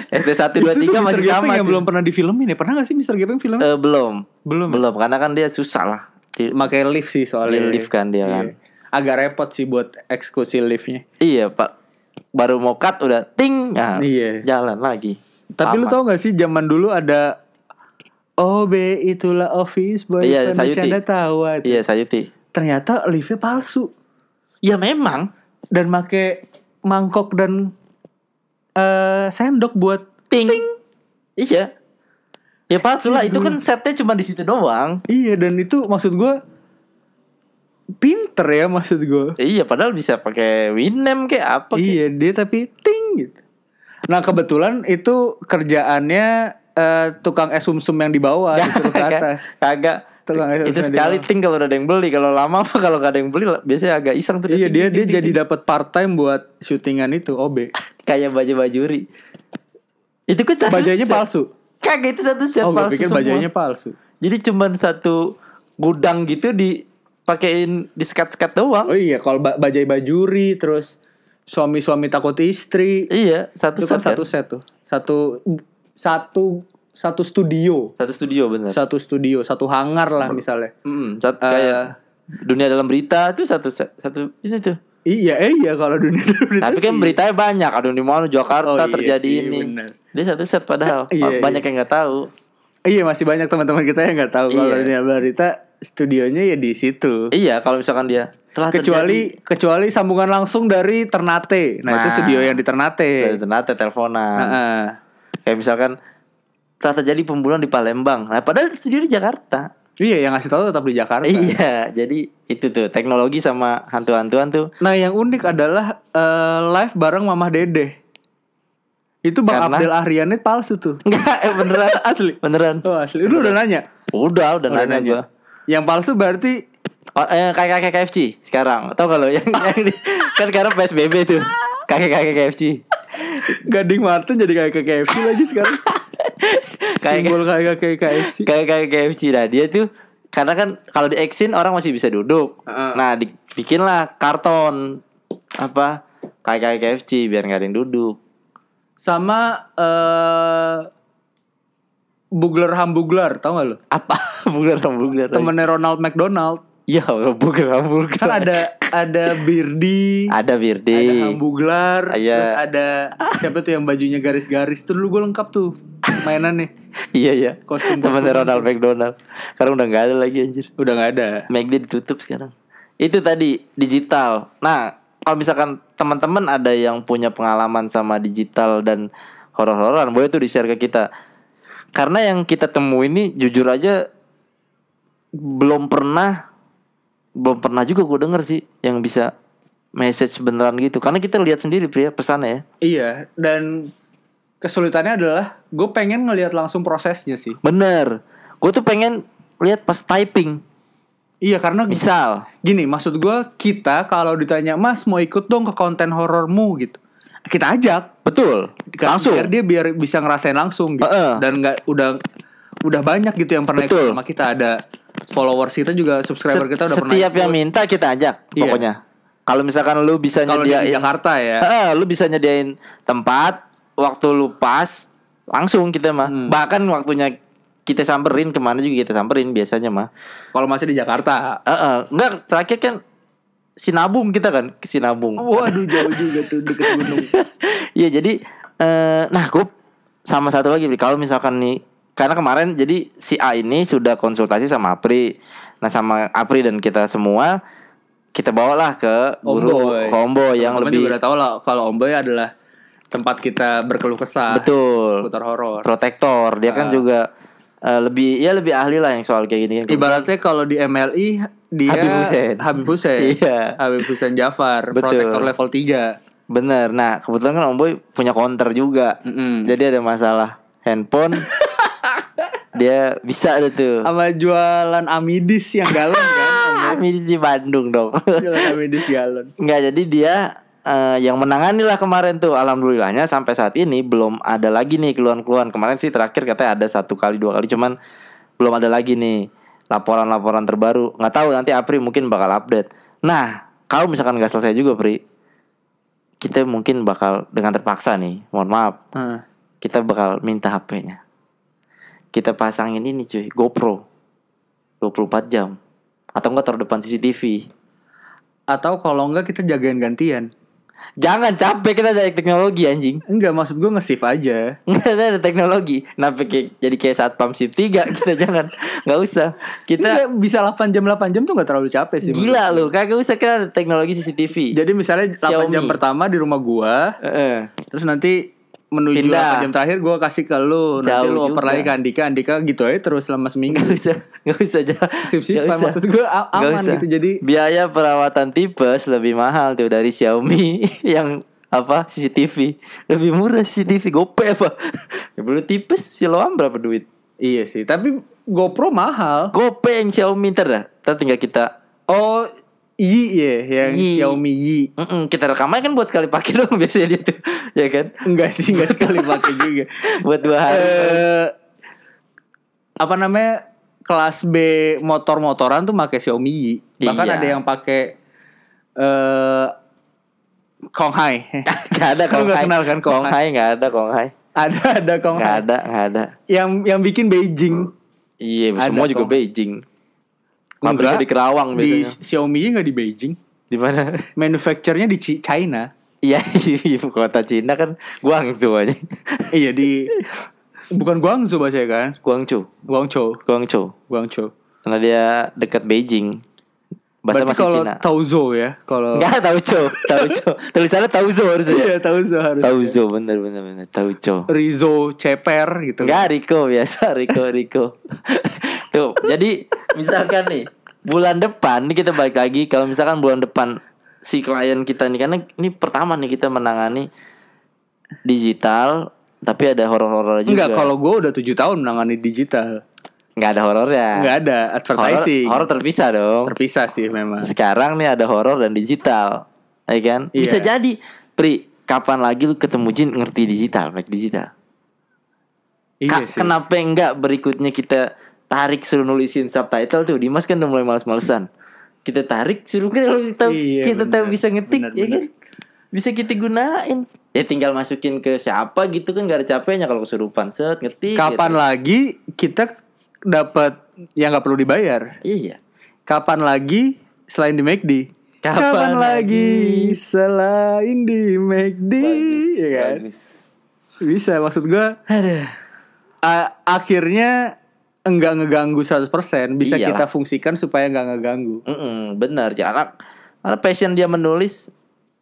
[SPEAKER 3] SD satu dua
[SPEAKER 2] Itu tuh
[SPEAKER 3] tiga
[SPEAKER 2] Mr.
[SPEAKER 3] masih
[SPEAKER 2] Gepeng
[SPEAKER 3] sama
[SPEAKER 2] yang
[SPEAKER 3] tuh.
[SPEAKER 2] belum pernah difilmin ya. Pernah gak sih Mr. Gepeng film?
[SPEAKER 3] Eh, belum.
[SPEAKER 2] Belum ya?
[SPEAKER 3] Belum karena kan dia susah lah. Di-
[SPEAKER 2] Makai lift sih soalnya.
[SPEAKER 3] Di lift kan dia
[SPEAKER 2] Iya.
[SPEAKER 3] kan.
[SPEAKER 2] Agak repot sih buat eksekusi liftnya.
[SPEAKER 3] iya, Pak. Baru mau cut udah ting. Nah,
[SPEAKER 2] Iya.
[SPEAKER 3] Jalan lagi.
[SPEAKER 2] Tapi lu
[SPEAKER 3] Lama.
[SPEAKER 2] tau gak sih zaman dulu ada OB itulah office boy
[SPEAKER 3] Iya, Sayuti.
[SPEAKER 2] bercanda tawa.
[SPEAKER 3] Iya, Sayuti.
[SPEAKER 2] Ternyata liftnya palsu.
[SPEAKER 3] Ya memang
[SPEAKER 2] dan make mangkok dan eh sendok buat
[SPEAKER 3] ting. Iya. Ya palsu lah, itu kan setnya cuma di situ doang.
[SPEAKER 2] iya dan itu maksud gue pinter ya maksud gue
[SPEAKER 3] Iya, padahal bisa pakai Winem kayak apa gitu. kayak.
[SPEAKER 2] iya dia tapi ting gitu nah kebetulan itu kerjaannya eh, tukang es sumsum yang di bawah disuruh ke
[SPEAKER 3] Kagak-
[SPEAKER 2] atas
[SPEAKER 3] Kagak.
[SPEAKER 2] Tukang es sumsum
[SPEAKER 3] Itu
[SPEAKER 2] di
[SPEAKER 3] sekali
[SPEAKER 2] bawah.
[SPEAKER 3] ting kalau udah ada yang beli, kalau lama apa kalau nggak ada yang beli lah, biasanya agak iseng tuh.
[SPEAKER 2] iya
[SPEAKER 3] ting,
[SPEAKER 2] dia
[SPEAKER 3] ting,
[SPEAKER 2] dia
[SPEAKER 3] ting, ting.
[SPEAKER 2] jadi dapat part time buat syutingan itu OB
[SPEAKER 3] kayak baju-bajuri. Itu kan satu
[SPEAKER 2] bajanya
[SPEAKER 3] set.
[SPEAKER 2] palsu
[SPEAKER 3] Kagak itu satu set
[SPEAKER 2] oh gue
[SPEAKER 3] palsu
[SPEAKER 2] pikir
[SPEAKER 3] semua.
[SPEAKER 2] bajanya palsu
[SPEAKER 3] Jadi cuman satu gudang gitu dipakein di sekat-sekat doang.
[SPEAKER 2] oh iya kalau ba- bajai bajuri terus suami-suami takut istri
[SPEAKER 3] Iya, satu
[SPEAKER 2] itu
[SPEAKER 3] set.
[SPEAKER 2] kan satu set tuh satu satu satu studio
[SPEAKER 3] satu studio bener.
[SPEAKER 2] satu studio satu hangar lah misalnya
[SPEAKER 3] Mm, sat- kayak dunia dalam berita tuh satu set, satu ini tuh.
[SPEAKER 2] iya eh, iya kalau dunia berita
[SPEAKER 3] Tapi kan
[SPEAKER 2] sih.
[SPEAKER 3] beritanya banyak. Aduh di mana
[SPEAKER 2] Oh,
[SPEAKER 3] Jakarta
[SPEAKER 2] iya
[SPEAKER 3] terjadi
[SPEAKER 2] sih,
[SPEAKER 3] ini.
[SPEAKER 2] bener.
[SPEAKER 3] Dia satu set padahal
[SPEAKER 2] Iya,
[SPEAKER 3] banyak yang nggak tahu.
[SPEAKER 2] iya masih banyak teman-teman kita yang nggak tahu kalau
[SPEAKER 3] Iya.
[SPEAKER 2] dunia berita studionya ya di situ
[SPEAKER 3] Iya, kalau misalkan dia telah
[SPEAKER 2] kecuali kecuali sambungan langsung dari Ternate nah, itu
[SPEAKER 3] Nah.
[SPEAKER 2] studio yang di Ternate Nah, eh.
[SPEAKER 3] terjadi, ternyata teleponan.
[SPEAKER 2] Heeh.
[SPEAKER 3] Kayak misalkan telah terjadi pembunuhan di Palembang. Nah, padahal studio di Jakarta.
[SPEAKER 2] iya yang ngasih tahu tetap di Jakarta
[SPEAKER 3] Iya, jadi itu tuh teknologi sama hantu-hantuan tuh.
[SPEAKER 2] Nah yang unik adalah eh, live bareng Mamah Dedeh Itu Bang
[SPEAKER 3] Karena?
[SPEAKER 2] Abdel Ahrianit palsu tuh
[SPEAKER 3] Enggak, eh, beneran asli, beneran.
[SPEAKER 2] Oh asli, lu udah nanya?
[SPEAKER 3] Udah, udah nanya gua.
[SPEAKER 2] Yang palsu berarti
[SPEAKER 3] Oh, eh, kakek kakek KFC sekarang. Tau kalau yang, yang di- kan sekarang PSBB tuh. Kakek kakek KFC.
[SPEAKER 2] Gading Martin jadi kayak ke KFC lagi sekarang.
[SPEAKER 3] Kayak-
[SPEAKER 2] Simbol kayak kayak KFC.
[SPEAKER 3] Kakek kakek KFC nah dia tuh karena kan kalau di eksin orang masih bisa duduk.
[SPEAKER 2] Heeh.
[SPEAKER 3] Nah, di- bikinlah karton apa kakek kakek KFC biar nggak ada yang duduk.
[SPEAKER 2] Sama eh Bugler Hambugler, tau gak lo?
[SPEAKER 3] Apa bugar bugar.
[SPEAKER 2] Temennya Ronald McDonald.
[SPEAKER 3] Ya, bugar bugar.
[SPEAKER 2] Kan ada ada Birdi,
[SPEAKER 3] ada Birdi.
[SPEAKER 2] ada Hambugler,
[SPEAKER 3] Iya.
[SPEAKER 2] terus ada siapa tuh yang bajunya garis-garis tuh dulu gue lengkap tuh mainannya.
[SPEAKER 3] Iya iya
[SPEAKER 2] Kostum- gitu.
[SPEAKER 3] Temen Ronald McDonald Sekarang udah gak ada lagi anjir
[SPEAKER 2] Udah nggak ada.
[SPEAKER 3] McD ditutup sekarang Itu tadi digital Nah kalau misalkan teman-teman ada yang punya pengalaman sama digital dan horor-hororan Boleh tuh di-share ke kita Karena yang kita temuin ini jujur aja Belum pernah Belum pernah juga gue denger sih Yang bisa message beneran gitu Karena kita lihat sendiri pria pesannya ya
[SPEAKER 2] Iya, dan kesulitannya adalah gue pengen ngelihat langsung prosesnya sih.
[SPEAKER 3] Bener Gue tuh pengen lihat pas typing
[SPEAKER 2] Iya karena
[SPEAKER 3] Misal,
[SPEAKER 2] gini maksud gua kita kalau ditanya Mas mau ikut dong ke konten horormu gitu. Kita ajak
[SPEAKER 3] betul.
[SPEAKER 2] Kan
[SPEAKER 3] Langsung.
[SPEAKER 2] biar dia biar bisa ngerasain langsung gitu
[SPEAKER 3] Heeh.
[SPEAKER 2] dan nggak udah udah banyak gitu yang pernah
[SPEAKER 3] Betul.
[SPEAKER 2] ikut sama kita ada followers kita juga subscriber
[SPEAKER 3] Set-
[SPEAKER 2] kita udah pernah
[SPEAKER 3] setiap
[SPEAKER 2] ikut.
[SPEAKER 3] yang minta kita ajak
[SPEAKER 2] Iya.
[SPEAKER 3] pokoknya. Kalau misalkan lu bisa
[SPEAKER 2] kalau dia di
[SPEAKER 3] nyediain
[SPEAKER 2] Jakarta ya
[SPEAKER 3] Heeh, lu bisa nyediain tempat, waktu lu pas, langsung kita mah.
[SPEAKER 2] Hmm.
[SPEAKER 3] Bahkan waktunya kita samperin kemana juga kita samperin biasanya mah.
[SPEAKER 2] kalau masih di Jakarta
[SPEAKER 3] Heeh, enggak terakhir kan sinabung kita kan ke sinabung.
[SPEAKER 2] waduh jauh juga tuh deket gunung
[SPEAKER 3] Iya jadi eh, nah gue sama satu lagi Bli. kalau misalkan nih karena kemarin jadi si A ini sudah konsultasi sama Apri. Nah sama Apri dan kita semua kita bawalah ke guru
[SPEAKER 2] Omboy.
[SPEAKER 3] Kombo yang
[SPEAKER 2] Teman-teman
[SPEAKER 3] lebih
[SPEAKER 2] juga udah tahu lah kalau Omboy adalah tempat kita berkeluh kesah
[SPEAKER 3] Betul.
[SPEAKER 2] seputar horor
[SPEAKER 3] protektor.
[SPEAKER 2] Ah.
[SPEAKER 3] Dia kan juga eh, lebih ya lebih ahli lah yang soal kayak gini. kan.
[SPEAKER 2] ibaratnya kalau di MLI dia
[SPEAKER 3] Habib Hussein.
[SPEAKER 2] Habib Hussein
[SPEAKER 3] Iya.
[SPEAKER 2] Habib Hussein Jafar
[SPEAKER 3] Betul.
[SPEAKER 2] protektor level 3
[SPEAKER 3] Bener. Nah kebetulan kan Om Boy punya counter juga.
[SPEAKER 2] Mm-mm.
[SPEAKER 3] Jadi ada masalah handphone. dia bisa ada tuh.
[SPEAKER 2] sama jualan amidis yang galon kan
[SPEAKER 3] Ah, Miss di Bandung dong.
[SPEAKER 2] jualan amidis galon
[SPEAKER 3] Nggak jadi dia eh, yang menangani lah kemarin tuh alhamdulillahnya sampai saat ini belum ada lagi nih keluhan-keluhan kemarin sih terakhir katanya ada satu kali dua kali cuman belum ada lagi nih laporan-laporan terbaru nggak tahu nanti Apri mungkin bakal update nah kalau misalkan nggak selesai juga Pri kita mungkin bakal dengan terpaksa nih mohon maaf
[SPEAKER 2] Heeh.
[SPEAKER 3] kita bakal minta HP-nya kita pasangin ini cuy GoPro 24 jam atau enggak taruh depan CCTV
[SPEAKER 2] atau kalau enggak kita jagain gantian
[SPEAKER 3] Jangan capek kita dari teknologi anjing.
[SPEAKER 2] enggak maksud gue nge-shift aja
[SPEAKER 3] Nggak ada teknologi. Kenapa kayak- jadi kayak saat pam shift 3 kita jangan nggak usah.
[SPEAKER 2] kita
[SPEAKER 3] Kita
[SPEAKER 2] bisa 8 jam 8 jam tuh nggak terlalu capek sih menurut
[SPEAKER 3] Iya. gila lu, kagak usah kita ada teknologi
[SPEAKER 2] gua.
[SPEAKER 3] CCTV.
[SPEAKER 2] Iya. jadi misalnya 8 jam
[SPEAKER 3] Xiaomi.
[SPEAKER 2] pertama di rumah gua
[SPEAKER 3] Heeh.
[SPEAKER 2] terus nanti menuju
[SPEAKER 3] Pindah.
[SPEAKER 2] 8 jam terakhir gua kasih ke lu nanti
[SPEAKER 3] Jauh
[SPEAKER 2] lu oper
[SPEAKER 3] juga.
[SPEAKER 2] lagi ke Andika Andika gitu aja terus selama seminggu
[SPEAKER 3] Nggak usah, nggak usah jalan.
[SPEAKER 2] Sip-sipan.
[SPEAKER 3] Nggak usah.
[SPEAKER 2] Maksud gua a-
[SPEAKER 3] Nggak
[SPEAKER 2] aman gitu, jadi-
[SPEAKER 3] biaya perawatan tipes lebih mahal tuh dari Xiaomi yang apa CCTV lebih murah CCTV gope apa ya belum tipes siloam berapa duit
[SPEAKER 2] iya sih tapi GoPro mahal
[SPEAKER 3] gope yang Xiaomi ntar dah ntar tinggal kita
[SPEAKER 2] oh Yi ya yang
[SPEAKER 3] Yi.
[SPEAKER 2] Xiaomi Yi
[SPEAKER 3] Mm-mm, kita rekamannya kan buat sekali pakai dong biasanya dia tuh, ya kan?
[SPEAKER 2] enggak sih enggak sekali pakai juga
[SPEAKER 3] Buat dua hari.
[SPEAKER 2] eh apa namanya kelas B motor-motoran tuh pakai Xiaomi Yi. Bahkan
[SPEAKER 3] Iya.
[SPEAKER 2] ada yang pakai eh Konghai.
[SPEAKER 3] Gak ada
[SPEAKER 2] Lu
[SPEAKER 3] Kong
[SPEAKER 2] nggak
[SPEAKER 3] Hai.
[SPEAKER 2] kenal kan Kong
[SPEAKER 3] Kong Hai nggak ada Kong Hai.
[SPEAKER 2] ada ada
[SPEAKER 3] Nggak
[SPEAKER 2] Konghai.
[SPEAKER 3] ada nggak ada.
[SPEAKER 2] Yang yang bikin Beijing.
[SPEAKER 3] Iya
[SPEAKER 2] Ada
[SPEAKER 3] semua juga
[SPEAKER 2] Kong Hai.
[SPEAKER 3] Beijing. Pabriknya
[SPEAKER 2] Enggak.
[SPEAKER 3] di Kerawang
[SPEAKER 2] Di
[SPEAKER 3] biasanya.
[SPEAKER 2] Xiaomi nggak di Beijing.
[SPEAKER 3] Di mana?
[SPEAKER 2] Manufacturenya di Ci- China.
[SPEAKER 3] Iya ibu kota Cina kan Guangzhou aja.
[SPEAKER 2] iya di bukan Guangzhou bahasanya kan?
[SPEAKER 3] Guangzhou
[SPEAKER 2] Guangzhou,
[SPEAKER 3] Guangzhou.
[SPEAKER 2] Guangzhou.
[SPEAKER 3] Karena dia dekat Beijing. Bahasa
[SPEAKER 2] Berarti
[SPEAKER 3] masih
[SPEAKER 2] kalau
[SPEAKER 3] Cina.
[SPEAKER 2] Taozo ya, kalau
[SPEAKER 3] Enggak Tauco, Tauco. Tulisannya Tauzo harusnya.
[SPEAKER 2] Iya, Taozo harus.
[SPEAKER 3] Tauzo bener bener bener Tauco.
[SPEAKER 2] Rizo Ceper gitu.
[SPEAKER 3] Enggak Riko biasa Riko Riko Tuh jadi misalkan nih Bulan depan nih kita balik lagi Kalau misalkan bulan depan si klien kita nih Karena ini pertama nih kita menangani digital Tapi ada horor-horor juga
[SPEAKER 2] Enggak, kalau gue udah tujuh tahun menangani digital.
[SPEAKER 3] Nggak ada horornya
[SPEAKER 2] Enggak ada
[SPEAKER 3] horor,
[SPEAKER 2] advertising.
[SPEAKER 3] horor terpisah dong
[SPEAKER 2] Terpisah sih memang.
[SPEAKER 3] Sekarang nih ada horor dan digital Ya kan
[SPEAKER 2] Iya.
[SPEAKER 3] Bisa jadi Pri Kapan lagi lu ketemu jin ngerti digital Like digital
[SPEAKER 2] Iya
[SPEAKER 3] Kak,
[SPEAKER 2] sih.
[SPEAKER 3] kenapa enggak berikutnya kita tarik suruh nulisin subtitle tuh Dimas kan udah mulai males-malesan kita tarik suruh kita kalau kita,
[SPEAKER 2] Iya,
[SPEAKER 3] kita tahu
[SPEAKER 2] bener.
[SPEAKER 3] bisa ngetik
[SPEAKER 2] Bener,
[SPEAKER 3] ya
[SPEAKER 2] bener.
[SPEAKER 3] kan bisa kita gunain ya tinggal masukin ke siapa gitu kan gak ada capeknya kalau kesurupan set ngetik
[SPEAKER 2] Kapan
[SPEAKER 3] gitu.
[SPEAKER 2] lagi kita dapat yang nggak perlu dibayar?
[SPEAKER 3] iya
[SPEAKER 2] Kapan lagi selain di McD?
[SPEAKER 3] Kapan lagi?
[SPEAKER 2] selain di McD? Iya kan?
[SPEAKER 3] bagus.
[SPEAKER 2] Bisa maksud gua
[SPEAKER 3] Aduh.
[SPEAKER 2] a- akhirnya enggak ngeganggu 100% bisa
[SPEAKER 3] Iyalah.
[SPEAKER 2] kita fungsikan supaya enggak ngeganggu.
[SPEAKER 3] Mm-mm, benar ya anak anak passion dia menulis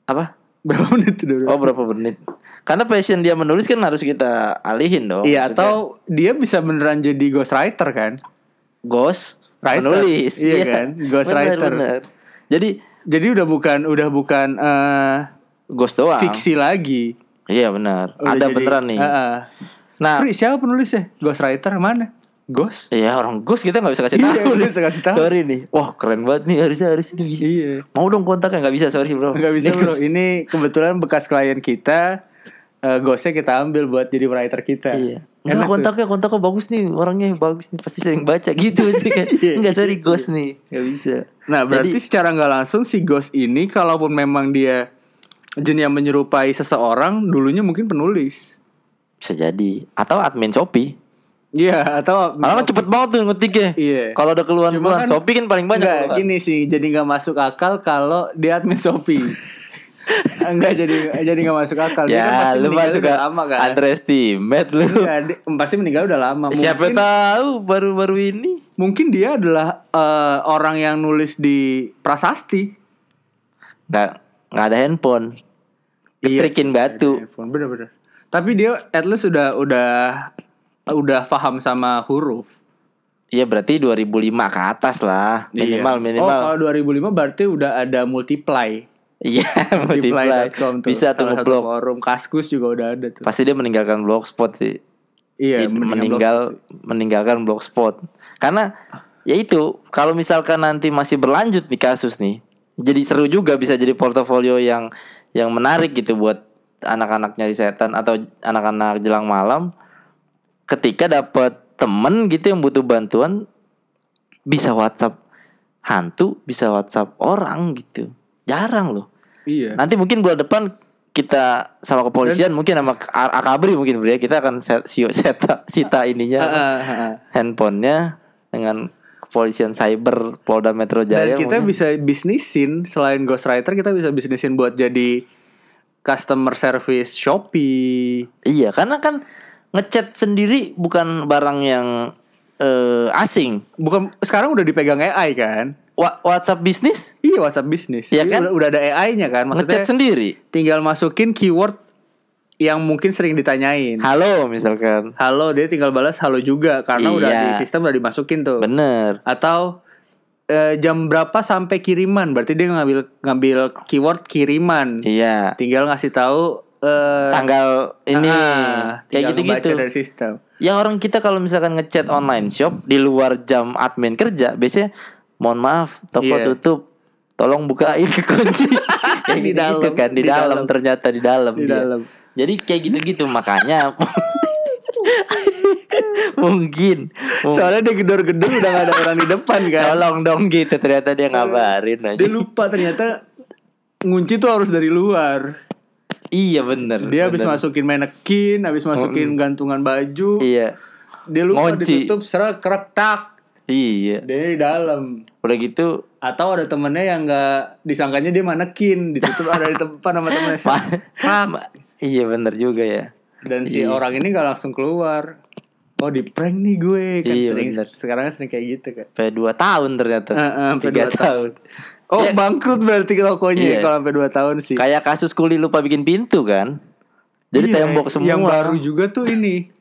[SPEAKER 3] apa
[SPEAKER 2] Berapa menit itu dulu?
[SPEAKER 3] oh berapa menit karena passion dia menulis kan harus kita alihin dong
[SPEAKER 2] iya,
[SPEAKER 3] Oh, Maksudnya,
[SPEAKER 2] atau dia bisa beneran jadi ghostwriter kan?
[SPEAKER 3] ghost
[SPEAKER 2] Writer.
[SPEAKER 3] penulis
[SPEAKER 2] Iya kan? Ghost
[SPEAKER 3] Benar,
[SPEAKER 2] writer.
[SPEAKER 3] benar. jadi
[SPEAKER 2] Jadi udah bukan udah bukan eh,
[SPEAKER 3] ghost doang
[SPEAKER 2] fiksi lagi.
[SPEAKER 3] iya benar
[SPEAKER 2] Udah
[SPEAKER 3] ada
[SPEAKER 2] jadi-
[SPEAKER 3] beneran nih
[SPEAKER 2] Heeh.
[SPEAKER 3] nah
[SPEAKER 2] Pri, siapa penulisnya? Ghostwriter mana? Ghost?
[SPEAKER 3] Iya orang Gus kita nggak bisa kasih
[SPEAKER 2] Iya, nggak
[SPEAKER 3] tahu. nih.
[SPEAKER 2] bisa kasih tahu.
[SPEAKER 3] Sorry nih. Wah keren banget nih harusnya harusnya ini bisa.
[SPEAKER 2] Iya.
[SPEAKER 3] Mau dong kontaknya nggak bisa sorry bro.
[SPEAKER 2] Enggak bisa
[SPEAKER 3] Ini
[SPEAKER 2] bro. Iya.
[SPEAKER 3] Gus.
[SPEAKER 2] Ini kebetulan bekas klien kita. Eh ghostnya kita ambil buat jadi writer kita.
[SPEAKER 3] Iya.
[SPEAKER 2] Enak
[SPEAKER 3] Enggak
[SPEAKER 2] tuh.
[SPEAKER 3] kontaknya kontaknya bagus nih orangnya bagus nih pasti sering baca gitu sih kan. Enggak sorry Gus nih nggak bisa.
[SPEAKER 2] Iya. Nah berarti
[SPEAKER 3] Jadi-
[SPEAKER 2] secara nggak langsung si ghost ini kalaupun memang dia jin yang menyerupai seseorang dulunya mungkin penulis.
[SPEAKER 3] bisa jadi atau admin Shopee.
[SPEAKER 2] Iya atau
[SPEAKER 3] Malah cepet banget tuh ngetiknya.
[SPEAKER 2] Iya.
[SPEAKER 3] Kalau ada
[SPEAKER 2] Cuma
[SPEAKER 3] keluhan-keluhan
[SPEAKER 2] kan-
[SPEAKER 3] Shopee kan paling banyak.
[SPEAKER 2] Nggak,
[SPEAKER 3] keluhan.
[SPEAKER 2] gini sih jadi nggak masuk akal kalau dia admin Shopee. Enggak jadi jadi nggak masuk akal. Dia kan
[SPEAKER 3] Ya,
[SPEAKER 2] pasti
[SPEAKER 3] lu
[SPEAKER 2] meninggal
[SPEAKER 3] masuk
[SPEAKER 2] udah
[SPEAKER 3] ke
[SPEAKER 2] lama kan.
[SPEAKER 3] underestimate lu.
[SPEAKER 2] Iya, dia- pasti meninggal udah lama.
[SPEAKER 3] Siapa
[SPEAKER 2] mungkin,
[SPEAKER 3] tahu baru-baru ini.
[SPEAKER 2] mungkin dia adalah eh, orang yang nulis di prasasti.
[SPEAKER 3] Nggak nggak ada handphone.
[SPEAKER 2] Iya
[SPEAKER 3] Ketrikin batu.
[SPEAKER 2] Handphone, bener-bener. Tapi dia at least udah udah udah paham sama huruf.
[SPEAKER 3] Iya berarti 2005 ke atas lah minimal
[SPEAKER 2] Iya.
[SPEAKER 3] minimal.
[SPEAKER 2] Oh, kalau 2005 berarti udah ada multiply.
[SPEAKER 3] Iya multiply.
[SPEAKER 2] Multiply.com tuh.
[SPEAKER 3] Bisa tuh
[SPEAKER 2] Salah satu
[SPEAKER 3] ngeblok.
[SPEAKER 2] forum Kaskus juga udah ada tuh.
[SPEAKER 3] Pasti dia meninggalkan blogspot sih.
[SPEAKER 2] Iya,
[SPEAKER 3] Id-
[SPEAKER 2] mendingan
[SPEAKER 3] meninggal meninggalkan blogspot. Karena ya itu kalau misalkan nanti masih berlanjut nih kasus nih. Jadi seru juga bisa jadi portofolio yang yang menarik gitu buat anak-anak nyari setan atau anak-anak jelang malam ketika dapat temen gitu yang butuh bantuan bisa WhatsApp hantu, bisa WhatsApp orang gitu. Jarang loh.
[SPEAKER 2] Iya.
[SPEAKER 3] Nanti mungkin bulan depan kita sama kepolisian mungkin sama K- A- Akabri mungkin bro ya kita akan set, sio- seta- sita ininya
[SPEAKER 2] Heeh, heeh.
[SPEAKER 3] handphonenya dengan kepolisian cyber Polda Metro
[SPEAKER 2] Dan
[SPEAKER 3] Jaya.
[SPEAKER 2] kita
[SPEAKER 3] mungkin.
[SPEAKER 2] bisa bisnisin selain ghostwriter kita bisa bisnisin buat jadi customer service Shopee.
[SPEAKER 3] Iya karena kan ngechat sendiri bukan barang yang eh, asing.
[SPEAKER 2] Bukan sekarang udah dipegang AI kan?
[SPEAKER 3] Wa- WhatsApp bisnis
[SPEAKER 2] Iya WhatsApp bisnis.
[SPEAKER 3] Iya
[SPEAKER 2] Jadi
[SPEAKER 3] kan?
[SPEAKER 2] Udah, udah ada AI-nya kan? Maksudnya
[SPEAKER 3] ngechat sendiri.
[SPEAKER 2] tinggal masukin keyword yang mungkin sering ditanyain.
[SPEAKER 3] Halo misalkan.
[SPEAKER 2] Halo, dia tinggal balas halo juga karena udah
[SPEAKER 3] Iya.
[SPEAKER 2] di sistem udah dimasukin tuh.
[SPEAKER 3] Bener.
[SPEAKER 2] Atau eh, jam berapa sampai kiriman? Berarti dia ngambil ngambil keyword kiriman.
[SPEAKER 3] Iya.
[SPEAKER 2] Tinggal ngasih tahu eh
[SPEAKER 3] Tanggal ini
[SPEAKER 2] ah, tinggal
[SPEAKER 3] kayak gitu-gitu.
[SPEAKER 2] ngebaca dari sistem.
[SPEAKER 3] Ya orang kita kalau misalkan ngechat online shop di luar jam admin kerja biasanya mohon maaf toko
[SPEAKER 2] Iya.
[SPEAKER 3] tutup. Tolong bukain ke kunci. Kayak
[SPEAKER 2] Di
[SPEAKER 3] gitu
[SPEAKER 2] dalam,
[SPEAKER 3] kan di,
[SPEAKER 2] di
[SPEAKER 3] dalam,
[SPEAKER 2] dalam.
[SPEAKER 3] ternyata di dalam
[SPEAKER 2] Di
[SPEAKER 3] dia.
[SPEAKER 2] dalam.
[SPEAKER 3] Jadi kayak gitu-gitu makanya mungkin mungkin
[SPEAKER 2] Soalnya dia gedor-gedor udah gak ada orang di depan kan.
[SPEAKER 3] tolong dong gitu ternyata dia ngabarin aja.
[SPEAKER 2] Dia lupa ternyata ngunci tuh harus dari luar.
[SPEAKER 3] Iya bener
[SPEAKER 2] Dia habis
[SPEAKER 3] bener. Oh, mm.
[SPEAKER 2] masukin manekin, habis masukin gantungan baju.
[SPEAKER 3] Iya.
[SPEAKER 2] Dia lupa
[SPEAKER 3] Ngunci.
[SPEAKER 2] ditutup serak kerak tak.
[SPEAKER 3] Iya.
[SPEAKER 2] Dia di dalam.
[SPEAKER 3] Udah gitu
[SPEAKER 2] Atau ada temennya yang nggak disangkanya dia manekin, ditutup ada di tempat sama temennya. Serak.
[SPEAKER 3] Ma- Iya bener juga ya.
[SPEAKER 2] Dan si orang ini nggak langsung keluar. Oh di prank nih gue kan
[SPEAKER 3] Iya,
[SPEAKER 2] sering
[SPEAKER 3] bener.
[SPEAKER 2] sekarang kan sering kayak gitu kan.
[SPEAKER 3] Sampai 2 tahun ternyata.
[SPEAKER 2] Heeh, sampai
[SPEAKER 3] Tiga
[SPEAKER 2] dua tahun. Oh bangkrut berarti tokonya ya
[SPEAKER 3] Iya.
[SPEAKER 2] kalau sampai 2 tahun sih.
[SPEAKER 3] Kayak kasus kuli lupa bikin pintu kan. Jadi
[SPEAKER 2] Iya,
[SPEAKER 3] tembok semua.
[SPEAKER 2] Yang baru juga tuh ini.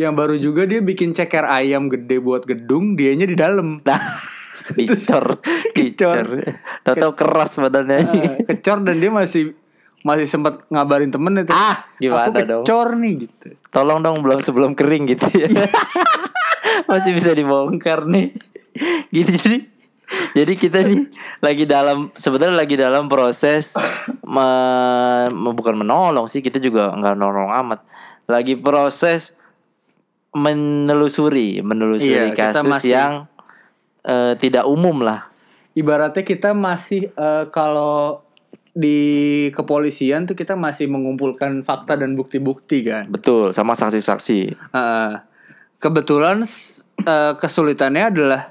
[SPEAKER 2] yang baru juga dia bikin ceker ayam gede buat gedung, dianya di dalam.
[SPEAKER 3] Nah, dicor, dicor. Tahu-tahu keras badannya.
[SPEAKER 2] Eh, kecor dan dia masih masih sempat ngabarin temennya tuh.
[SPEAKER 3] Ah, gimana
[SPEAKER 2] Aku
[SPEAKER 3] dong?
[SPEAKER 2] kecor nih gitu.
[SPEAKER 3] Tolong dong belum sebelum kering gitu ya. Masih bisa dibongkar nih. Gitu jadi jadi kita nih lagi dalam sebetulnya lagi dalam proses me- me- bukan menolong sih kita juga nggak nolong amat lagi proses menelusuri
[SPEAKER 2] Iya,
[SPEAKER 3] menelusuri
[SPEAKER 2] kita
[SPEAKER 3] kasus
[SPEAKER 2] masih-
[SPEAKER 3] yang eh, tidak umum lah
[SPEAKER 2] Ibaratnya kita masih eh, kalau di kepolisian tuh kita masih mengumpulkan fakta dan bukti-bukti kan.
[SPEAKER 3] betul sama saksi-saksi
[SPEAKER 2] Heeh. Eh, kebetulan s- eh, kesulitannya adalah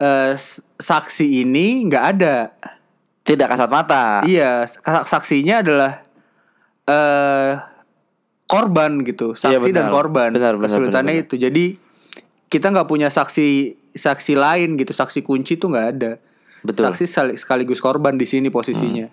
[SPEAKER 2] eh, s- saksi ini nggak ada.
[SPEAKER 3] tidak kasat mata
[SPEAKER 2] Iya, s- saksinya adalah eh korban gitu, saksi
[SPEAKER 3] Iya,
[SPEAKER 2] dan
[SPEAKER 3] benar.
[SPEAKER 2] korban.
[SPEAKER 3] Benar, benar,
[SPEAKER 2] Kesulitannya
[SPEAKER 3] benar,
[SPEAKER 2] itu. Jadi kita nggak punya saksi saksi lain gitu, saksi kunci tuh nggak ada.
[SPEAKER 3] Betul. Hmm.
[SPEAKER 2] Saksi sali- sekaligus korban di sini posisinya.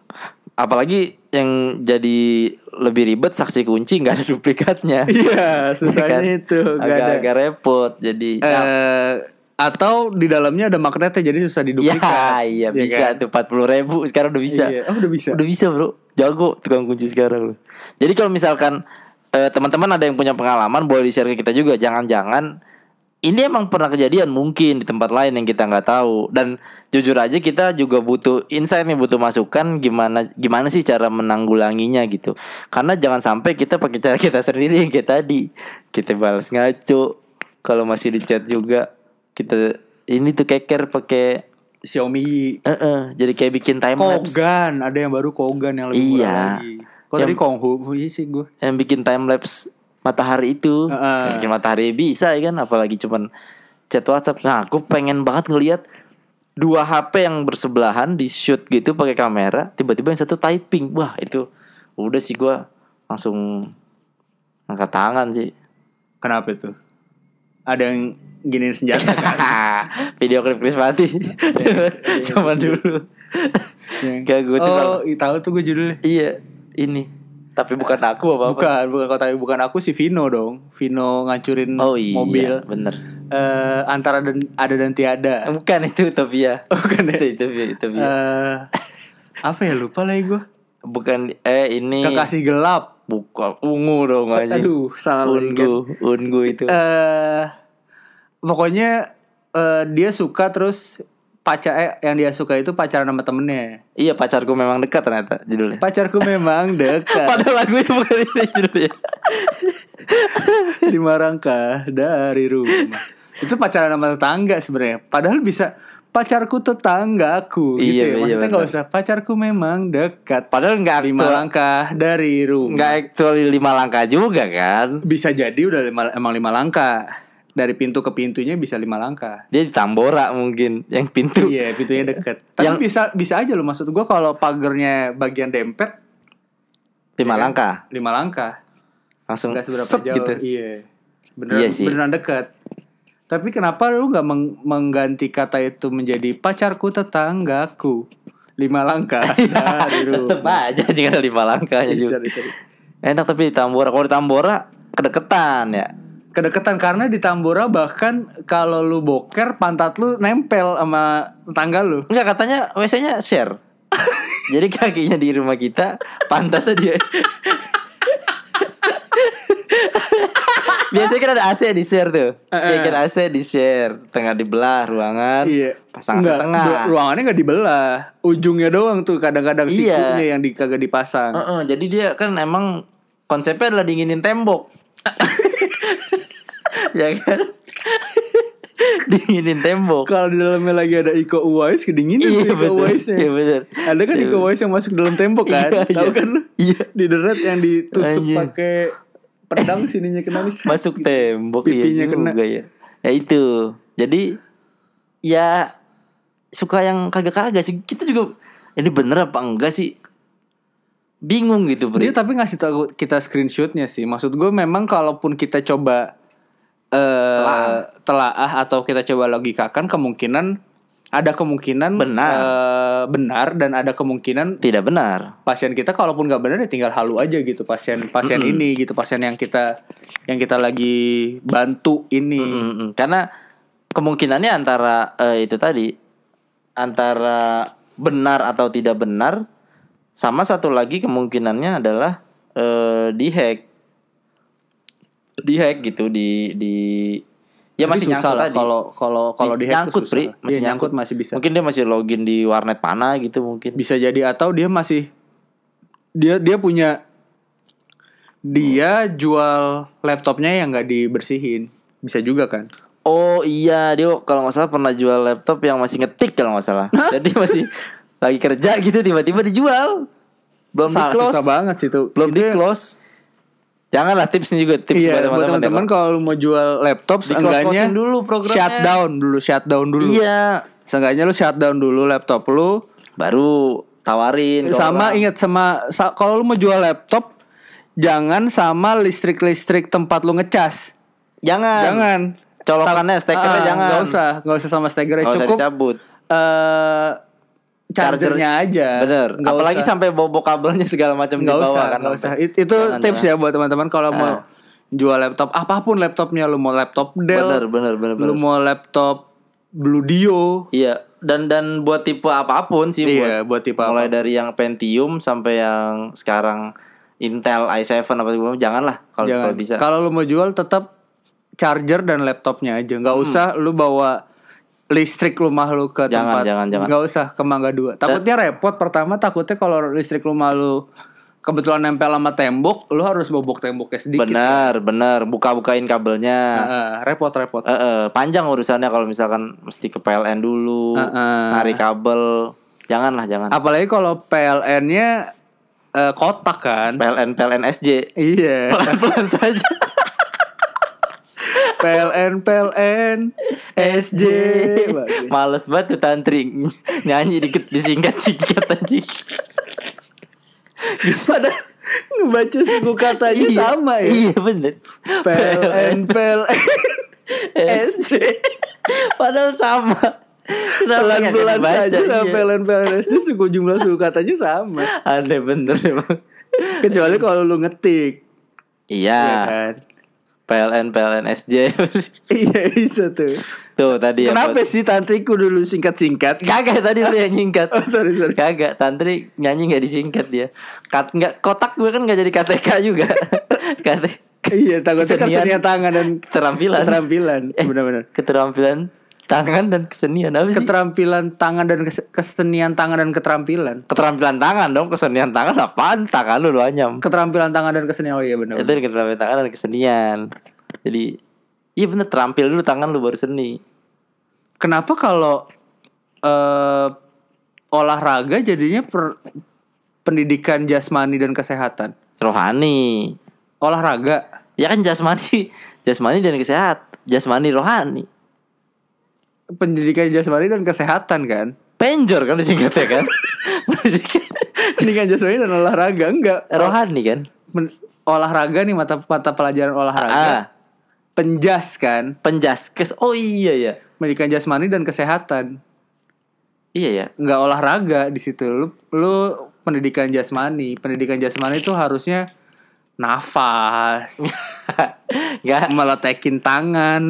[SPEAKER 3] apalagi yang jadi lebih ribet saksi kunci nggak ada duplikatnya
[SPEAKER 2] Iya,
[SPEAKER 3] Kan?
[SPEAKER 2] susahnya itu nggak ada.
[SPEAKER 3] agak-agak repot jadi
[SPEAKER 2] Eh, atau di dalamnya ada magnetnya jadi susah
[SPEAKER 3] ya
[SPEAKER 2] diduplikat. Ya
[SPEAKER 3] iya bisa
[SPEAKER 2] kan?
[SPEAKER 3] tuh 40 ribu sekarang udah bisa
[SPEAKER 2] Iya. Oh, udah bisa.
[SPEAKER 3] udah bisa bro jago tukang kunci sekarang lo jadi kalau misalkan eh, teman-teman ada yang punya pengalaman boleh di share ke kita juga jangan-jangan ini emang pernah kejadian mungkin di tempat lain yang kita nggak tahu dan jujur aja kita juga butuh insight nih butuh masukan gimana gimana sih cara menanggulanginya gitu karena jangan sampai kita pakai cara kita sendiri yang kayak tadi kita balas ngaco kalau masih di chat juga kita ini tuh keker pakai
[SPEAKER 2] Xiaomi
[SPEAKER 3] eh eh, jadi kayak bikin time lapse
[SPEAKER 2] Kogan, ada yang baru Kogan yang lebih murah
[SPEAKER 3] Iya.
[SPEAKER 2] lagi. Kok tadi Konghu Iya sih gue.
[SPEAKER 3] yang bikin time lapse matahari itu
[SPEAKER 2] Heeh.
[SPEAKER 3] Yang bikin matahari bisa ya kan apalagi cuman chat WhatsApp nah aku pengen banget ngelihat dua HP yang bersebelahan di shoot gitu pakai kamera tiba-tiba yang satu typing wah itu udah sih gua langsung angkat tangan sih
[SPEAKER 2] Kenapa itu? Ada yang giniin senjata kan?
[SPEAKER 3] video klip Chris Mati sama dulu
[SPEAKER 2] Yang-
[SPEAKER 3] gak gue tuh kalau-
[SPEAKER 2] Iya. oh, i- tahu tuh gue judulnya.
[SPEAKER 3] iya ini tapi bukan aku apa apa
[SPEAKER 2] Bukan, bukan kau tapi bukan aku si Vino dong. Vino ngancurin
[SPEAKER 3] oh iya
[SPEAKER 2] mobil.
[SPEAKER 3] bener
[SPEAKER 2] Eh, antara dan ada dan tiada.
[SPEAKER 3] Eh, bukan itu Utopia
[SPEAKER 2] Bukan ya?
[SPEAKER 3] itu Utopia Utopia
[SPEAKER 2] Eh, apa ya lupa lagi gue.
[SPEAKER 3] Bukan eh ini
[SPEAKER 2] Kekasih gelap.
[SPEAKER 3] bukan ungu dong aja.
[SPEAKER 2] Aduh, salah lagi kan.
[SPEAKER 3] ungu, ungu itu.
[SPEAKER 2] eh pokoknya eh, dia suka terus pacar eh, yang dia suka itu pacaran sama temennya.
[SPEAKER 3] iya pacarku memang dekat ternyata judulnya.
[SPEAKER 2] Pacarku memang dekat
[SPEAKER 3] Padahal lagu itu bukan ini judulnya.
[SPEAKER 2] lima rangka dari rumah. Itu pacaran sama tetangga sebenarnya. Padahal bisa pacarku tetanggaku gitu
[SPEAKER 3] Iya,
[SPEAKER 2] ya.
[SPEAKER 3] iya,
[SPEAKER 2] Maksudnya nggak
[SPEAKER 3] bener.
[SPEAKER 2] usah pacarku memang dekat.
[SPEAKER 3] Padahal nggak
[SPEAKER 2] Lima
[SPEAKER 3] actua-
[SPEAKER 2] langkah dari rumah.
[SPEAKER 3] nggak actually lima langkah juga kan.
[SPEAKER 2] Bisa jadi udah lima- emang lima langkah dari pintu ke pintunya bisa lima langkah.
[SPEAKER 3] Dia di Tambora mungkin yang pintu.
[SPEAKER 2] Iya pintunya deket. Tapi
[SPEAKER 3] Yang-
[SPEAKER 2] bisa bisa aja loh maksud gua kalau pagernya bagian dempet
[SPEAKER 3] Lima langkah.
[SPEAKER 2] lima langkah
[SPEAKER 3] Langsung
[SPEAKER 2] Iya. nggak seberapa
[SPEAKER 3] set
[SPEAKER 2] jauh.
[SPEAKER 3] gitu.
[SPEAKER 2] Iya. Beneran,
[SPEAKER 3] Iya sih.
[SPEAKER 2] beneran deket. Tapi kenapa lu nggak meng- mengganti kata itu menjadi pacarku tetanggaku lima langkah dari
[SPEAKER 3] Iya, Tetep
[SPEAKER 2] rumah.
[SPEAKER 3] aja juga lima langkahnya juga.
[SPEAKER 2] Iya, Sorry, sorry.
[SPEAKER 3] Enak tapi di Tambora. Kalau di Tambora kedeketan ya.
[SPEAKER 2] Kedekatan karena di Tambora bahkan kalau lu boker pantat lu nempel sama tetangga lu.
[SPEAKER 3] Enggak katanya WC-nya share. Jadi kakinya di rumah kita, pantatnya dia. Biasanya kan ada AC di share tuh. Iya kan AC di share, tengah dibelah ruangan.
[SPEAKER 2] Iya.
[SPEAKER 3] Pasang AC
[SPEAKER 2] Nggak,
[SPEAKER 3] tengah.
[SPEAKER 2] ru- Ruangannya nggak dibelah, ujungnya doang tuh kadang-kadang
[SPEAKER 3] Iya.
[SPEAKER 2] sikunya yang di, kagak dipasang.
[SPEAKER 3] Heeh, jadi dia kan emang konsepnya adalah dinginin tembok. ya kan? dinginin tembok.
[SPEAKER 2] Kalau di dalamnya lagi ada Iko Uwais kedinginan tuh
[SPEAKER 3] Iya
[SPEAKER 2] Iko
[SPEAKER 3] betul.
[SPEAKER 2] Uwaisnya.
[SPEAKER 3] Iya betul.
[SPEAKER 2] Ada kan Iko Uwais yang masuk dalam tembok kan?
[SPEAKER 3] Iya,
[SPEAKER 2] Tahu
[SPEAKER 3] iya.
[SPEAKER 2] kan lu?
[SPEAKER 3] Iya.
[SPEAKER 2] Dideret yang ditusuk
[SPEAKER 3] Anjing.
[SPEAKER 2] pakai pedang sininya kena nih.
[SPEAKER 3] masuk tembok
[SPEAKER 2] Pipinya
[SPEAKER 3] iya
[SPEAKER 2] kena.
[SPEAKER 3] juga ya. Ya itu. Jadi ya suka yang kagak-kagak sih. Kita juga ini bener apa enggak sih? Bingung gitu,
[SPEAKER 2] Dia
[SPEAKER 3] Bro.
[SPEAKER 2] tapi ngasih tahu kita screenshotnya sih. Maksud gue memang kalaupun kita coba eh telaah atau kita coba logikakan kemungkinan ada kemungkinan
[SPEAKER 3] Benar.
[SPEAKER 2] eh, benar dan ada kemungkinan
[SPEAKER 3] Tidak benar.
[SPEAKER 2] pasien kita kalaupun nggak benar ya tinggal halu aja gitu pasien pasien ini gitu pasien yang kita yang kita lagi bantu ini
[SPEAKER 3] Mm-mm. Karena kemungkinannya antara eh, itu tadi antara benar atau tidak benar sama satu lagi kemungkinannya adalah eh dihack. Dihack gitu di di ya
[SPEAKER 2] Tapi
[SPEAKER 3] masih
[SPEAKER 2] susah
[SPEAKER 3] nyangkut
[SPEAKER 2] lah
[SPEAKER 3] tadi.
[SPEAKER 2] kalau kalau kalau di hack tuh
[SPEAKER 3] nyangkut Pri.
[SPEAKER 2] susah.
[SPEAKER 3] masih
[SPEAKER 2] Iya,
[SPEAKER 3] nyangkut.
[SPEAKER 2] masih bisa
[SPEAKER 3] mungkin dia masih login di warnet pana gitu mungkin
[SPEAKER 2] bisa jadi atau dia masih dia dia punya dia jual laptopnya yang nggak dibersihin bisa juga kan
[SPEAKER 3] oh iya dia kalau nggak salah pernah jual laptop yang masih ngetik kalau nggak salah jadi masih lagi kerja gitu tiba-tiba dijual belum
[SPEAKER 2] Salah,
[SPEAKER 3] di close
[SPEAKER 2] susah banget sih itu ya.
[SPEAKER 3] belum di close janganlah tipsnya juga tips
[SPEAKER 2] Iya,
[SPEAKER 3] buat
[SPEAKER 2] buat
[SPEAKER 3] teman-teman
[SPEAKER 2] teman-teman
[SPEAKER 3] deh,
[SPEAKER 2] kalau lu mau jual laptop
[SPEAKER 3] Di-close-closein
[SPEAKER 2] seenggaknya
[SPEAKER 3] dulu programnya.
[SPEAKER 2] shutdown dulu, shutdown
[SPEAKER 3] Pak.
[SPEAKER 2] dulu.
[SPEAKER 3] iya
[SPEAKER 2] Seenggaknya lu shutdown dulu laptop lu,
[SPEAKER 3] baru tawarin ke
[SPEAKER 2] sama
[SPEAKER 3] orang.
[SPEAKER 2] ingat sama sa- kalau lu mau jual laptop jangan sama listrik-listrik tempat lu ngecas.
[SPEAKER 3] jangan
[SPEAKER 2] Jangan.
[SPEAKER 3] colokannya stekernya
[SPEAKER 2] Ah,
[SPEAKER 3] jangan
[SPEAKER 2] Nggak usah, nggak usah sama stekernya
[SPEAKER 3] Nggak usah
[SPEAKER 2] cukup.
[SPEAKER 3] dicabut.
[SPEAKER 2] eh, chargernya aja.
[SPEAKER 3] bener
[SPEAKER 2] Nggak
[SPEAKER 3] apalagi
[SPEAKER 2] usah.
[SPEAKER 3] sampai bobo kabelnya segala macam di
[SPEAKER 2] nggak
[SPEAKER 3] bawah
[SPEAKER 2] usah,
[SPEAKER 3] kan
[SPEAKER 2] nggak usah.
[SPEAKER 3] sampai. Ah.
[SPEAKER 2] It- itu
[SPEAKER 3] Jangan,
[SPEAKER 2] tips
[SPEAKER 3] jangan.
[SPEAKER 2] ya buat teman-teman kalau mau jual laptop apapun laptopnya lu mau laptop Dell,
[SPEAKER 3] bener bener bener bener
[SPEAKER 2] lu mau laptop Blue Dio,
[SPEAKER 3] Iya, dan dan buat tipe apapun sih
[SPEAKER 2] Iya, buat tipe
[SPEAKER 3] mulai dari yang Pentium sampai yang sekarang Intel i7 apa segala macam, janganlah kalau
[SPEAKER 2] jangan
[SPEAKER 3] kalau bisa.
[SPEAKER 2] Kalau lu mau jual tetap charger dan laptopnya aja.
[SPEAKER 3] Hmm.
[SPEAKER 2] Nggak usah lu bawa listrik rumah lu ke
[SPEAKER 3] Jangan,
[SPEAKER 2] tempat.
[SPEAKER 3] jangan, Eh. jangan.
[SPEAKER 2] Nggak usah ke Mangga Dua. Takutnya repot. Pertama takutnya kalau listrik rumah lu kebetulan nempel sama tembok, lu harus bobok temboknya sedikit. Ah,
[SPEAKER 3] Bener, bener. Buka-bukain kabelnya.
[SPEAKER 2] Heeh, repot-repot.
[SPEAKER 3] Eh, eh, panjang urusannya kalau misalkan mesti ke PLN dulu,
[SPEAKER 2] Heeh.
[SPEAKER 3] narik kabel. Janganlah, jangan.
[SPEAKER 2] Apalagi kalau PLN-nya eh, kotak kan.
[SPEAKER 3] PLN PLN SJ.
[SPEAKER 2] Iya.
[SPEAKER 3] Pelan-pelan saja.
[SPEAKER 2] PLN PLN SJ. Bagus.
[SPEAKER 3] Males banget tuh tantri nyanyi dikit disingkat-singkat aja.
[SPEAKER 2] Padahal ngebaca suku katanya
[SPEAKER 3] Iya,
[SPEAKER 2] sama ya.
[SPEAKER 3] Iya bener.
[SPEAKER 2] PLN PLN SJ.
[SPEAKER 3] Padahal sama. Kenapa nggak
[SPEAKER 2] Pelan-pelan
[SPEAKER 3] dibaca?
[SPEAKER 2] aja lah
[SPEAKER 3] Iya.
[SPEAKER 2] PLN PLN SJ suku jumlah suku katanya sama.
[SPEAKER 3] Aneh bener emang.
[SPEAKER 2] Kecuali kalau lu ngetik.
[SPEAKER 3] Iya.
[SPEAKER 2] ya kan?
[SPEAKER 3] PLN PLN SJ.
[SPEAKER 2] Iya bisa tuh.
[SPEAKER 3] tuh tadi
[SPEAKER 2] Kenapa
[SPEAKER 3] ya.
[SPEAKER 2] sih tantriku dulu singkat-singkat?
[SPEAKER 3] Kagak tadi lu yang nyingkat.
[SPEAKER 2] Oh, sorry, sorry.
[SPEAKER 3] Kagak tantri nyanyi nggak disingkat dia. Kat nggak kotak gue kan nggak jadi KTK juga. KTK.
[SPEAKER 2] Iya takutnya kan
[SPEAKER 3] Kesenian.
[SPEAKER 2] senian tangan dan
[SPEAKER 3] Keterampilan.
[SPEAKER 2] keterampilan.
[SPEAKER 3] Eh.
[SPEAKER 2] Benar-benar.
[SPEAKER 3] keterampilan tangan dan kesenian apa sih?
[SPEAKER 2] keterampilan tangan dan kes- kesenian tangan dan keterampilan
[SPEAKER 3] keterampilan tangan dong, kesenian tangan apaan? Tangan lu lu anyam.
[SPEAKER 2] keterampilan tangan dan kesenian oh iya benar
[SPEAKER 3] Itu keterampilan tangan dan kesenian. Jadi iya bener terampil dulu tangan lu baru seni.
[SPEAKER 2] kenapa kalau eh, olahraga jadinya per- pendidikan jasmani dan kesehatan
[SPEAKER 3] Rohani.
[SPEAKER 2] olahraga
[SPEAKER 3] Ya kan jasmani, jasmani dan kesehat, jasmani rohani.
[SPEAKER 2] pendidikan jasmani dan kesehatan kan
[SPEAKER 3] Penjor kan disingkatnya kan. Pendidikan
[SPEAKER 2] pendidikan jasmani dan olahraga enggak
[SPEAKER 3] rohani kan.
[SPEAKER 2] Men- olahraga nih mata mata pelajaran olahraga
[SPEAKER 3] Ah,
[SPEAKER 2] penjas kan
[SPEAKER 3] penjaskes. Oh iya ya.
[SPEAKER 2] pendidikan jasmani dan kesehatan
[SPEAKER 3] Iya ya.
[SPEAKER 2] nggak olahraga di situ lu lu pendidikan jasmani pendidikan jasmani itu harusnya nafas
[SPEAKER 3] Enggak.
[SPEAKER 2] meletekin tangan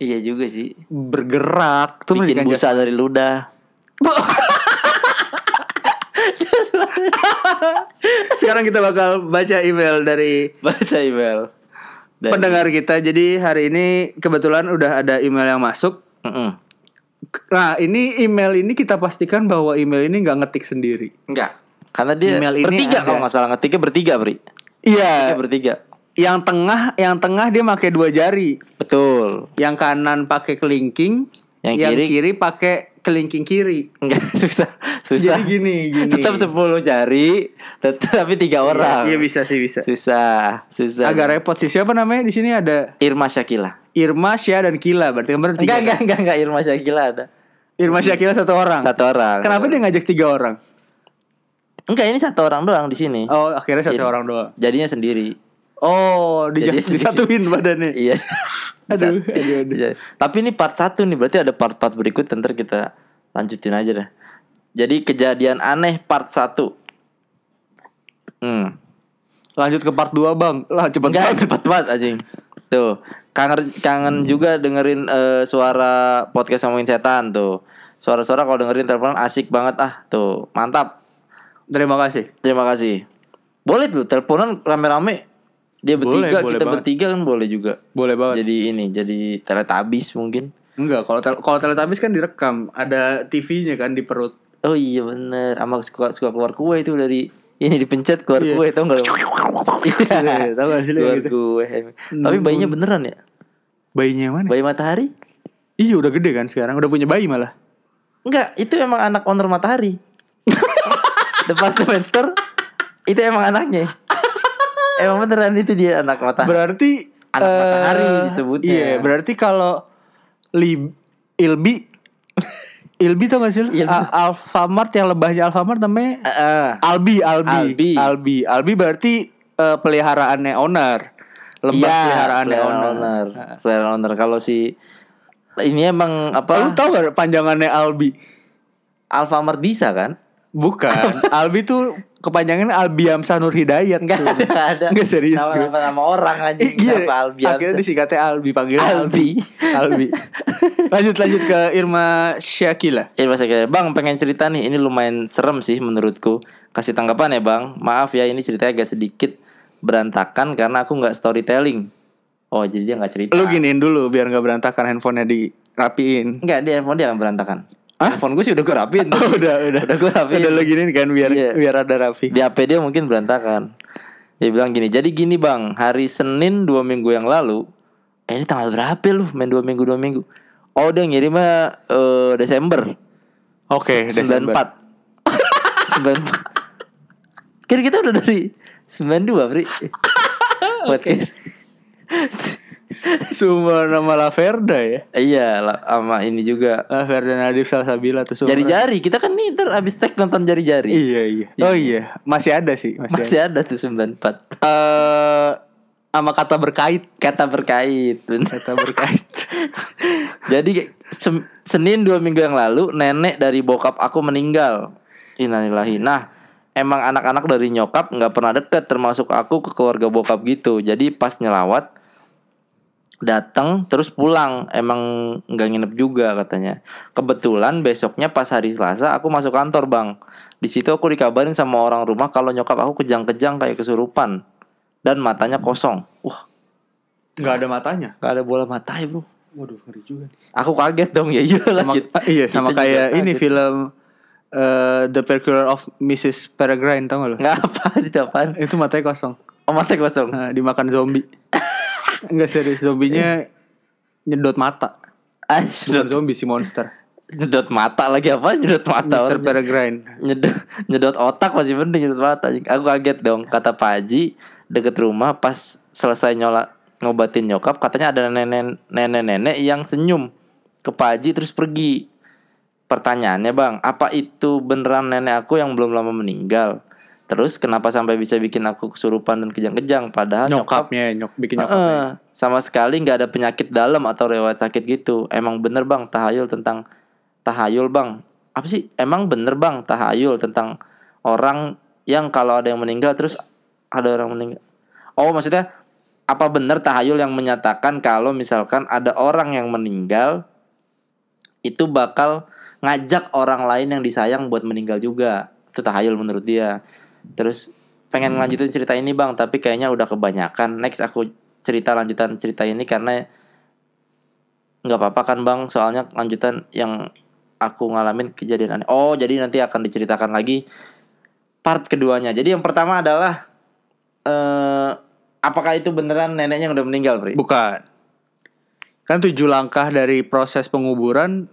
[SPEAKER 3] Iya juga sih.
[SPEAKER 2] bergerak tuh
[SPEAKER 3] Bikin
[SPEAKER 2] pendidikan
[SPEAKER 3] busa dari ludah.
[SPEAKER 2] jasmani sekarang kita bakal baca email dari
[SPEAKER 3] Baca email. Dari-
[SPEAKER 2] pendengar kita jadi hari ini kebetulan udah ada email yang masuk
[SPEAKER 3] Mm-mm.
[SPEAKER 2] nah ini email ini kita pastikan bahwa email ini nggak ngetik sendiri
[SPEAKER 3] Enggak. Karena dia
[SPEAKER 2] Email ini
[SPEAKER 3] bertiga
[SPEAKER 2] ada.
[SPEAKER 3] kalau nggak salah ngetiknya bertiga, Bri.
[SPEAKER 2] iya
[SPEAKER 3] Iya, bertiga.
[SPEAKER 2] yang tengah yang tengah dia pakai dua jari
[SPEAKER 3] Betul.
[SPEAKER 2] yang kanan pakai kelingking,
[SPEAKER 3] Yang kiri-
[SPEAKER 2] pakai kelingking kiri.
[SPEAKER 3] Enggak susah, susah.
[SPEAKER 2] Jadi gini, gini.
[SPEAKER 3] Tetap 10 jari, tetapi tiga orang.
[SPEAKER 2] Iya bisa sih bisa.
[SPEAKER 3] Susah, susah.
[SPEAKER 2] Agak repot sih. Siapa namanya di sini ada
[SPEAKER 3] Irma Syakila.
[SPEAKER 2] Irma, Syah dan Kila. Berarti kan berarti
[SPEAKER 3] Enggak, enggak, enggak, enggak Irma Syakila ada.
[SPEAKER 2] Irma, Syah, Kila satu orang.
[SPEAKER 3] Satu orang.
[SPEAKER 2] Kenapa dia ngajak tiga orang?
[SPEAKER 3] Enggak, ini satu orang doang di sini.
[SPEAKER 2] Oh, akhirnya satu
[SPEAKER 3] Iya.
[SPEAKER 2] orang doang.
[SPEAKER 3] Jadinya sendiri.
[SPEAKER 2] Oh, di
[SPEAKER 3] Jadi sendiri.
[SPEAKER 2] disatuin badannya.
[SPEAKER 3] Iya.
[SPEAKER 2] Aduh, aduh, aduh.
[SPEAKER 3] Bisa. Tapi ini part satu nih, berarti ada part-part berikut ntar kita lanjutin aja dah. Jadi kejadian aneh part satu Hmm.
[SPEAKER 2] Lanjut ke part 2, Bang. Lah, cepet
[SPEAKER 3] Enggak
[SPEAKER 2] banget.
[SPEAKER 3] cepet banget anjing. Tuh, kangen kangen juga dengerin eh, suara podcast ngomongin setan tuh. Suara-suara kalau dengerin telepon asik banget ah. Tuh, mantap.
[SPEAKER 2] Terima kasih.
[SPEAKER 3] Terima kasih. Boleh tuh teleponan rame-rame. Dia
[SPEAKER 2] Boleh, boleh
[SPEAKER 3] bertiga, kita
[SPEAKER 2] banget. Oh.
[SPEAKER 3] bertiga kan boleh juga.
[SPEAKER 2] Boleh banget.
[SPEAKER 3] Jadi ini, jadi teletabis mungkin.
[SPEAKER 2] Enggak, kalau tel kalau Teletubbies kan direkam, ada TV-nya kan di perut.
[SPEAKER 3] Oh iya bener Sama suka, suka keluar kue itu dari Ini dipencet keluar
[SPEAKER 2] Iya.
[SPEAKER 3] kue tau gak lu?
[SPEAKER 2] Iya, tau gak sih lu
[SPEAKER 3] Keluar
[SPEAKER 2] gitu?
[SPEAKER 3] kue Tapi bayinya beneran ya?
[SPEAKER 2] Bayinya yang mana?
[SPEAKER 3] Bayi matahari?
[SPEAKER 2] Iya, udah gede kan sekarang, udah punya bayi malah.
[SPEAKER 3] Enggak itu emang anak owner matahari Departemen store Itu emang anaknya Emang beneran itu dia anak matahari
[SPEAKER 2] Berarti
[SPEAKER 3] Anak
[SPEAKER 2] eh,
[SPEAKER 3] matahari disebutnya.
[SPEAKER 2] Iya, berarti kalau Lib Ilbi Ilbi tau gak sih lu?
[SPEAKER 3] Ilbi.
[SPEAKER 2] A- Alfamart yang lebahnya Alfamart namanya
[SPEAKER 3] Heeh.
[SPEAKER 2] Albi, Albi,
[SPEAKER 3] Albi.
[SPEAKER 2] Albi, Albi berarti eh, peliharaannya owner. Lembah
[SPEAKER 3] Iya,
[SPEAKER 2] peliharaannya
[SPEAKER 3] peliharaan
[SPEAKER 2] ya, owner.
[SPEAKER 3] owner Peliharaan owner Kalau si Ini emang
[SPEAKER 2] Lu
[SPEAKER 3] apa
[SPEAKER 2] tau gak panjangannya Albi?
[SPEAKER 3] Alfamart bisa kan?
[SPEAKER 2] Bukan. Albi tuh kepanjangan Albiamsa Nur Hidayat. tuh.
[SPEAKER 3] Enggak ada, enggak ada.
[SPEAKER 2] Enggak serius
[SPEAKER 3] Nama,
[SPEAKER 2] gue.
[SPEAKER 3] nama, nama orang aja.
[SPEAKER 2] Ih, iya,
[SPEAKER 3] Kenapa Albi
[SPEAKER 2] akhirnya
[SPEAKER 3] Hamzah?
[SPEAKER 2] disingkatnya Albi panggil
[SPEAKER 3] Albi.
[SPEAKER 2] Albi. lanjut lanjut ke Irma Syakila.
[SPEAKER 3] Ini bahasa kira Iya, Bang pengen cerita nih Ini lumayan serem sih menurutku Kasih tanggapan ya bang Maaf ya ini ceritanya agak sedikit Berantakan karena aku nggak storytelling Oh jadi dia nggak cerita.
[SPEAKER 2] Lu giniin dulu biar nggak berantakan handphonenya dirapiin.
[SPEAKER 3] Enggak di handphone dia yang berantakan. Handphone gue sih udah gue rapiin.
[SPEAKER 2] Oh, udah udah
[SPEAKER 3] Udah gua rapiin.
[SPEAKER 2] Udah lu giniin kan biar
[SPEAKER 3] Iya.
[SPEAKER 2] biar ada rapi.
[SPEAKER 3] Di HP dia mungkin berantakan. Dia bilang gini, jadi gini bang, hari Senin dua minggu yang lalu, eh, ini tanggal berapa lu main dua minggu dua minggu? Oh dia ngirimnya eh, Desember
[SPEAKER 2] Oke,
[SPEAKER 3] sembilan
[SPEAKER 2] Desember.
[SPEAKER 3] empat. Eh, Sembilan empat. Kira kita udah dari sembilan dua, Pri. Podcast.
[SPEAKER 2] Sumber nama La Verda ya.
[SPEAKER 3] Iya, lah, sama ini juga.
[SPEAKER 2] La Verda Nadif Salsabila tuh sumber.
[SPEAKER 3] Jari-jari, kita kan nih ntar abis tag nonton jari-jari.
[SPEAKER 2] Iya, iya. Oh iya, masih ada sih, masih, ada.
[SPEAKER 3] Masih ada tuh 94
[SPEAKER 2] Eh, sama kata berkait.
[SPEAKER 3] Kata berkait bener.
[SPEAKER 2] Kata berkait.
[SPEAKER 3] Jadi sem- Senin dua minggu yang lalu Nenek dari bokap aku meninggal Innalillahi Nah Emang anak-anak dari nyokap nggak pernah deket Termasuk aku ke keluarga bokap gitu Jadi pas nyelawat datang terus pulang emang nggak nginep juga katanya kebetulan besoknya pas hari Selasa aku masuk kantor bang di situ aku dikabarin sama orang rumah kalau nyokap aku kejang-kejang kayak kesurupan dan matanya kosong wah
[SPEAKER 2] Gak ada matanya.
[SPEAKER 3] nggak ada bola mata ya bro
[SPEAKER 2] Waduh, ngeri juga.
[SPEAKER 3] Aku kaget dong ya iyalah
[SPEAKER 2] Sama,
[SPEAKER 3] kita-
[SPEAKER 2] iya, sama
[SPEAKER 3] kita
[SPEAKER 2] kayak
[SPEAKER 3] juga
[SPEAKER 2] ini
[SPEAKER 3] kaget.
[SPEAKER 2] film eh, The Peculiar of Mrs. Peregrine tau gak lo?
[SPEAKER 3] Nggak apa itu apaan?
[SPEAKER 2] Itu matanya kosong.
[SPEAKER 3] Oh mata kosong.
[SPEAKER 2] Nah, dimakan zombie. Enggak serius, zombinya nyedot mata.
[SPEAKER 3] Ah,
[SPEAKER 2] Bukan
[SPEAKER 3] nyedot,
[SPEAKER 2] zombie si monster.
[SPEAKER 3] nyedot mata lagi apa? Nyedot mata.
[SPEAKER 2] Mr.
[SPEAKER 3] orang.
[SPEAKER 2] Peregrine.
[SPEAKER 3] Nyedot, nyedot otak masih mending nyedot mata. Aku kaget dong. Kata Pak Haji deket rumah pas selesai nyola ngobatin nyokap katanya ada nenek nenek nenek yang senyum ke Pak Haji terus pergi. Pertanyaannya bang, apa itu beneran nenek aku yang belum lama meninggal? Terus kenapa sampai bisa bikin aku kesurupan dan kejang-kejang? Padahal nyokap
[SPEAKER 2] Nyokapnya, nyok bikin nyokap.
[SPEAKER 3] Heeh, sama sekali nggak ada penyakit dalam atau riwayat sakit gitu. Emang bener bang tahayul tentang tahayul bang. Apa sih? Emang bener bang tahayul tentang orang yang kalau ada yang meninggal terus ada orang meninggal. Oh maksudnya apa bener tahayul yang menyatakan kalau misalkan ada orang yang meninggal itu bakal ngajak orang lain yang disayang buat meninggal juga. Itu tahayul menurut dia. Terus pengen ngelanjutin cerita ini bang, tapi kayaknya udah kebanyakan. Next aku cerita lanjutan cerita ini karena nggak apa-apa kan bang, soalnya lanjutan yang aku ngalamin kejadian aneh. Oh jadi nanti akan diceritakan lagi part keduanya. Jadi yang pertama adalah eh apakah itu beneran neneknya yang udah meninggal, Pri?
[SPEAKER 2] Bukan. Kan tujuh langkah dari proses penguburan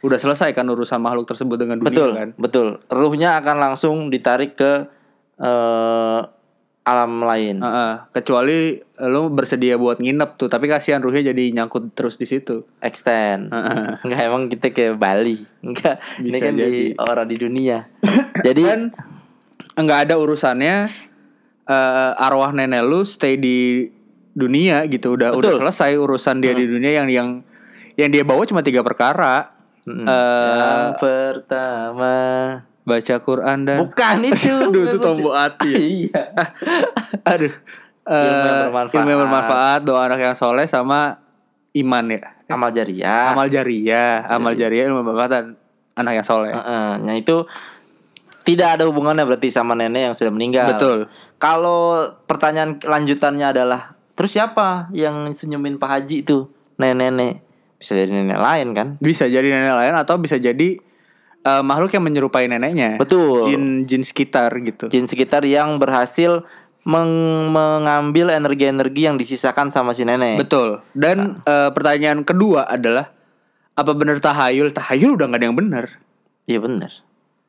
[SPEAKER 2] udah selesai kan urusan makhluk tersebut dengan dunia
[SPEAKER 3] betul
[SPEAKER 2] kan.
[SPEAKER 3] betul ruhnya akan langsung ditarik ke eh, alam lain
[SPEAKER 2] Heeh, kecuali lu bersedia buat nginep tuh, tapi kasihan ruhnya jadi nyangkut terus di situ.
[SPEAKER 3] extend
[SPEAKER 2] Heeh.
[SPEAKER 3] enggak emang kita ke Bali enggak ini
[SPEAKER 2] Ah, Bisa
[SPEAKER 3] kan di orang di dunia jadi
[SPEAKER 2] Dan nggak ada urusannya eh, arwah nenek lu stay di dunia gitu udah udah
[SPEAKER 3] Betul.
[SPEAKER 2] selesai urusan dia di dunia yang yang yang dia bawa cuma tiga perkara.
[SPEAKER 3] Mm-mm.
[SPEAKER 2] Eh,
[SPEAKER 3] yang pertama
[SPEAKER 2] baca Quran dan
[SPEAKER 3] bukan itu
[SPEAKER 2] Aduh, itu tombol hati ya.
[SPEAKER 3] iya
[SPEAKER 2] Aduh.
[SPEAKER 3] Ilmu yang
[SPEAKER 2] Eh,
[SPEAKER 3] bermanfaat.
[SPEAKER 2] ilmu yang bermanfaat, doa anak yang soleh sama iman ya.
[SPEAKER 3] amal jariah
[SPEAKER 2] Amal jariah, amal jariah ilmu yang bermanfaat dan anak yang soleh.
[SPEAKER 3] Heeh, nah itu tidak ada hubungannya berarti sama nenek yang sudah meninggal.
[SPEAKER 2] Betul.
[SPEAKER 3] Kalau pertanyaan lanjutannya adalah terus siapa yang senyumin Pak Haji itu? Nenek-nenek. Bisa jadi nenek lain kan?
[SPEAKER 2] Bisa jadi nenek lain atau bisa jadi eh, makhluk yang menyerupai neneknya.
[SPEAKER 3] Betul.
[SPEAKER 2] Jin jin sekitar gitu.
[SPEAKER 3] Jin sekitar yang berhasil meng- mengambil energi-energi yang disisakan sama si nenek.
[SPEAKER 2] Betul. Dan eh, pertanyaan kedua adalah apa benar tahayul? Tahayul udah nggak ada yang benar.
[SPEAKER 3] Iya bener.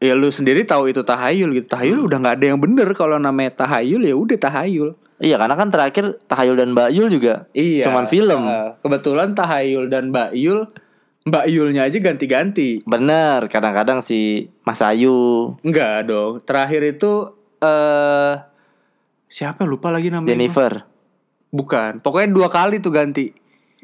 [SPEAKER 2] Ya lu sendiri tahu itu tahayul gitu. Tahayul udah nggak ada yang benar kalau namanya tahayul ya udah tahayul.
[SPEAKER 3] Iya karena kan terakhir Tahayul dan Mbak Yul juga
[SPEAKER 2] Iya.
[SPEAKER 3] cuman film.
[SPEAKER 2] Heeh. kebetulan Tahayul dan Mbak Yul, Mbak Yulnya aja ganti-ganti.
[SPEAKER 3] Bener kadang-kadang si Mas Ayu,
[SPEAKER 2] Enggak dong. Terakhir itu eh siapa lupa lagi namanya?
[SPEAKER 3] Jennifer.
[SPEAKER 2] Bukan. Pokoknya dua kali tuh ganti.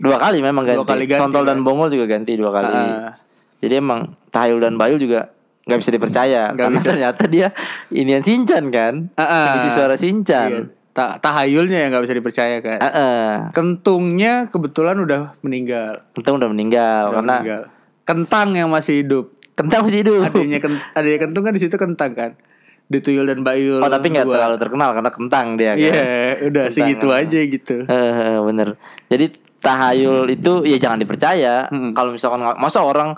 [SPEAKER 3] Dua kali memang ganti.
[SPEAKER 2] Dua kali ganti, kan?
[SPEAKER 3] Sontol dan Bongol juga ganti dua kali.
[SPEAKER 2] Heeh.
[SPEAKER 3] Jadi emang Tahayul dan Bayul juga nggak bisa dipercaya karena ternyata dia inian Sinchan kan.
[SPEAKER 2] Heeh.
[SPEAKER 3] Isi suara Sinchan.
[SPEAKER 2] Iya. Ta- tahayulnya yang nggak bisa dipercaya kan.
[SPEAKER 3] Heeh.
[SPEAKER 2] Kentungnya kebetulan udah meninggal.
[SPEAKER 3] Untung udah meninggal
[SPEAKER 2] Udah
[SPEAKER 3] karena
[SPEAKER 2] meninggal. Kentang yang masih hidup.
[SPEAKER 3] kentang masih hidup.
[SPEAKER 2] Adanya kent adanya kentung kan di situ kentang kan. di Tuyul dan Bayul.
[SPEAKER 3] Oh tapi nggak
[SPEAKER 2] dua.
[SPEAKER 3] terlalu terkenal karena kentang dia kan.
[SPEAKER 2] Iya, udah
[SPEAKER 3] Tentang
[SPEAKER 2] segitu
[SPEAKER 3] apa.
[SPEAKER 2] aja gitu.
[SPEAKER 3] Eh, bener. Jadi tahayul itu ya jangan dipercaya. Kalau misalkan nggak- masa orang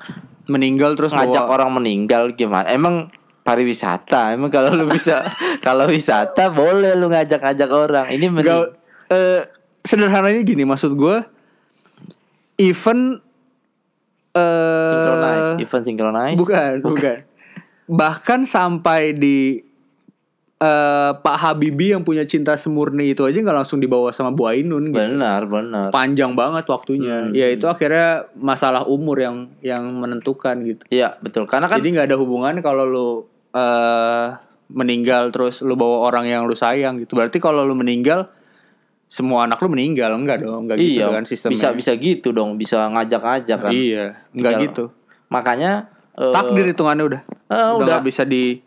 [SPEAKER 2] Meninggal terus
[SPEAKER 3] ngajak
[SPEAKER 2] bawa-
[SPEAKER 3] orang meninggal gimana? Emang pariwisata, emang kalau lu bisa kalau wisata boleh lu ngajak-ngajak orang.
[SPEAKER 2] Gak,
[SPEAKER 3] Ini mending
[SPEAKER 2] eh, sederhananya gini maksud gue event eh
[SPEAKER 3] synchronize, event synchronize.
[SPEAKER 2] bukan bukan bahkan sampai di eh, Pak Habibie yang punya cinta semurni itu aja nggak langsung dibawa sama Bu Ainun gitu.
[SPEAKER 3] Benar, benar. Hmm.
[SPEAKER 2] panjang banget waktunya ya itu akhirnya masalah umur yang yang menentukan gitu
[SPEAKER 3] Iya, betul. Karena kan
[SPEAKER 2] jadi nggak ada hubungan kalau lu eh meninggal terus lu bawa orang yang lu sayang gitu. Berarti kalau lu meninggal semua anak lu meninggal enggak dong? Enggak gitu
[SPEAKER 3] iya,
[SPEAKER 2] kan sistemnya.
[SPEAKER 3] bisa bisa gitu dong, bisa ngajak-ngajak kan.
[SPEAKER 2] Iya, enggak
[SPEAKER 3] Tinggal-
[SPEAKER 2] gitu.
[SPEAKER 3] Makanya eh,
[SPEAKER 2] Takdir hitungannya udah. Oh,
[SPEAKER 3] eh,
[SPEAKER 2] udah
[SPEAKER 3] udah.
[SPEAKER 2] nggak bisa di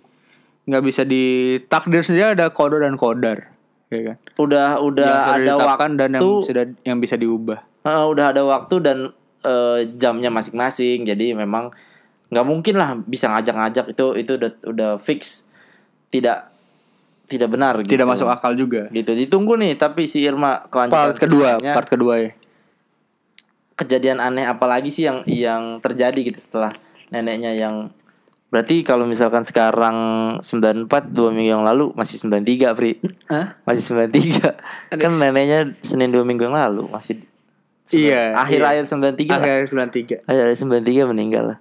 [SPEAKER 2] nggak bisa di takdir sendiri ada kodo dan kodar, ya kan?
[SPEAKER 3] udah udah
[SPEAKER 2] yang sudah
[SPEAKER 3] ada
[SPEAKER 2] ditetapkan
[SPEAKER 3] waktu
[SPEAKER 2] dan yang sudah yang bisa diubah.
[SPEAKER 3] Eh, udah ada waktu dan eh, jamnya masing-masing jadi memang nggak mungkin lah bisa ngajak-ngajak itu itu udah udah fix tidak tidak benar gitu.
[SPEAKER 2] Tidak masuk akal juga.
[SPEAKER 3] gitu ditunggu nih tapi si Irma kelanjutan
[SPEAKER 2] Part kedua,
[SPEAKER 3] ceritanya,
[SPEAKER 2] part kedua ya.
[SPEAKER 3] kejadian aneh apalagi sih yang yang terjadi gitu setelah neneknya yang berarti kalau misalkan sekarang 94 dua minggu yang lalu masih 93 Pri
[SPEAKER 2] Hah?
[SPEAKER 3] masih 93 kan neneknya Senin dua minggu yang lalu masih
[SPEAKER 2] Iya,
[SPEAKER 3] akhir
[SPEAKER 2] iya.
[SPEAKER 3] ayat 93 lah.
[SPEAKER 2] Akhir 93.
[SPEAKER 3] Ada ada 93 meninggal lah.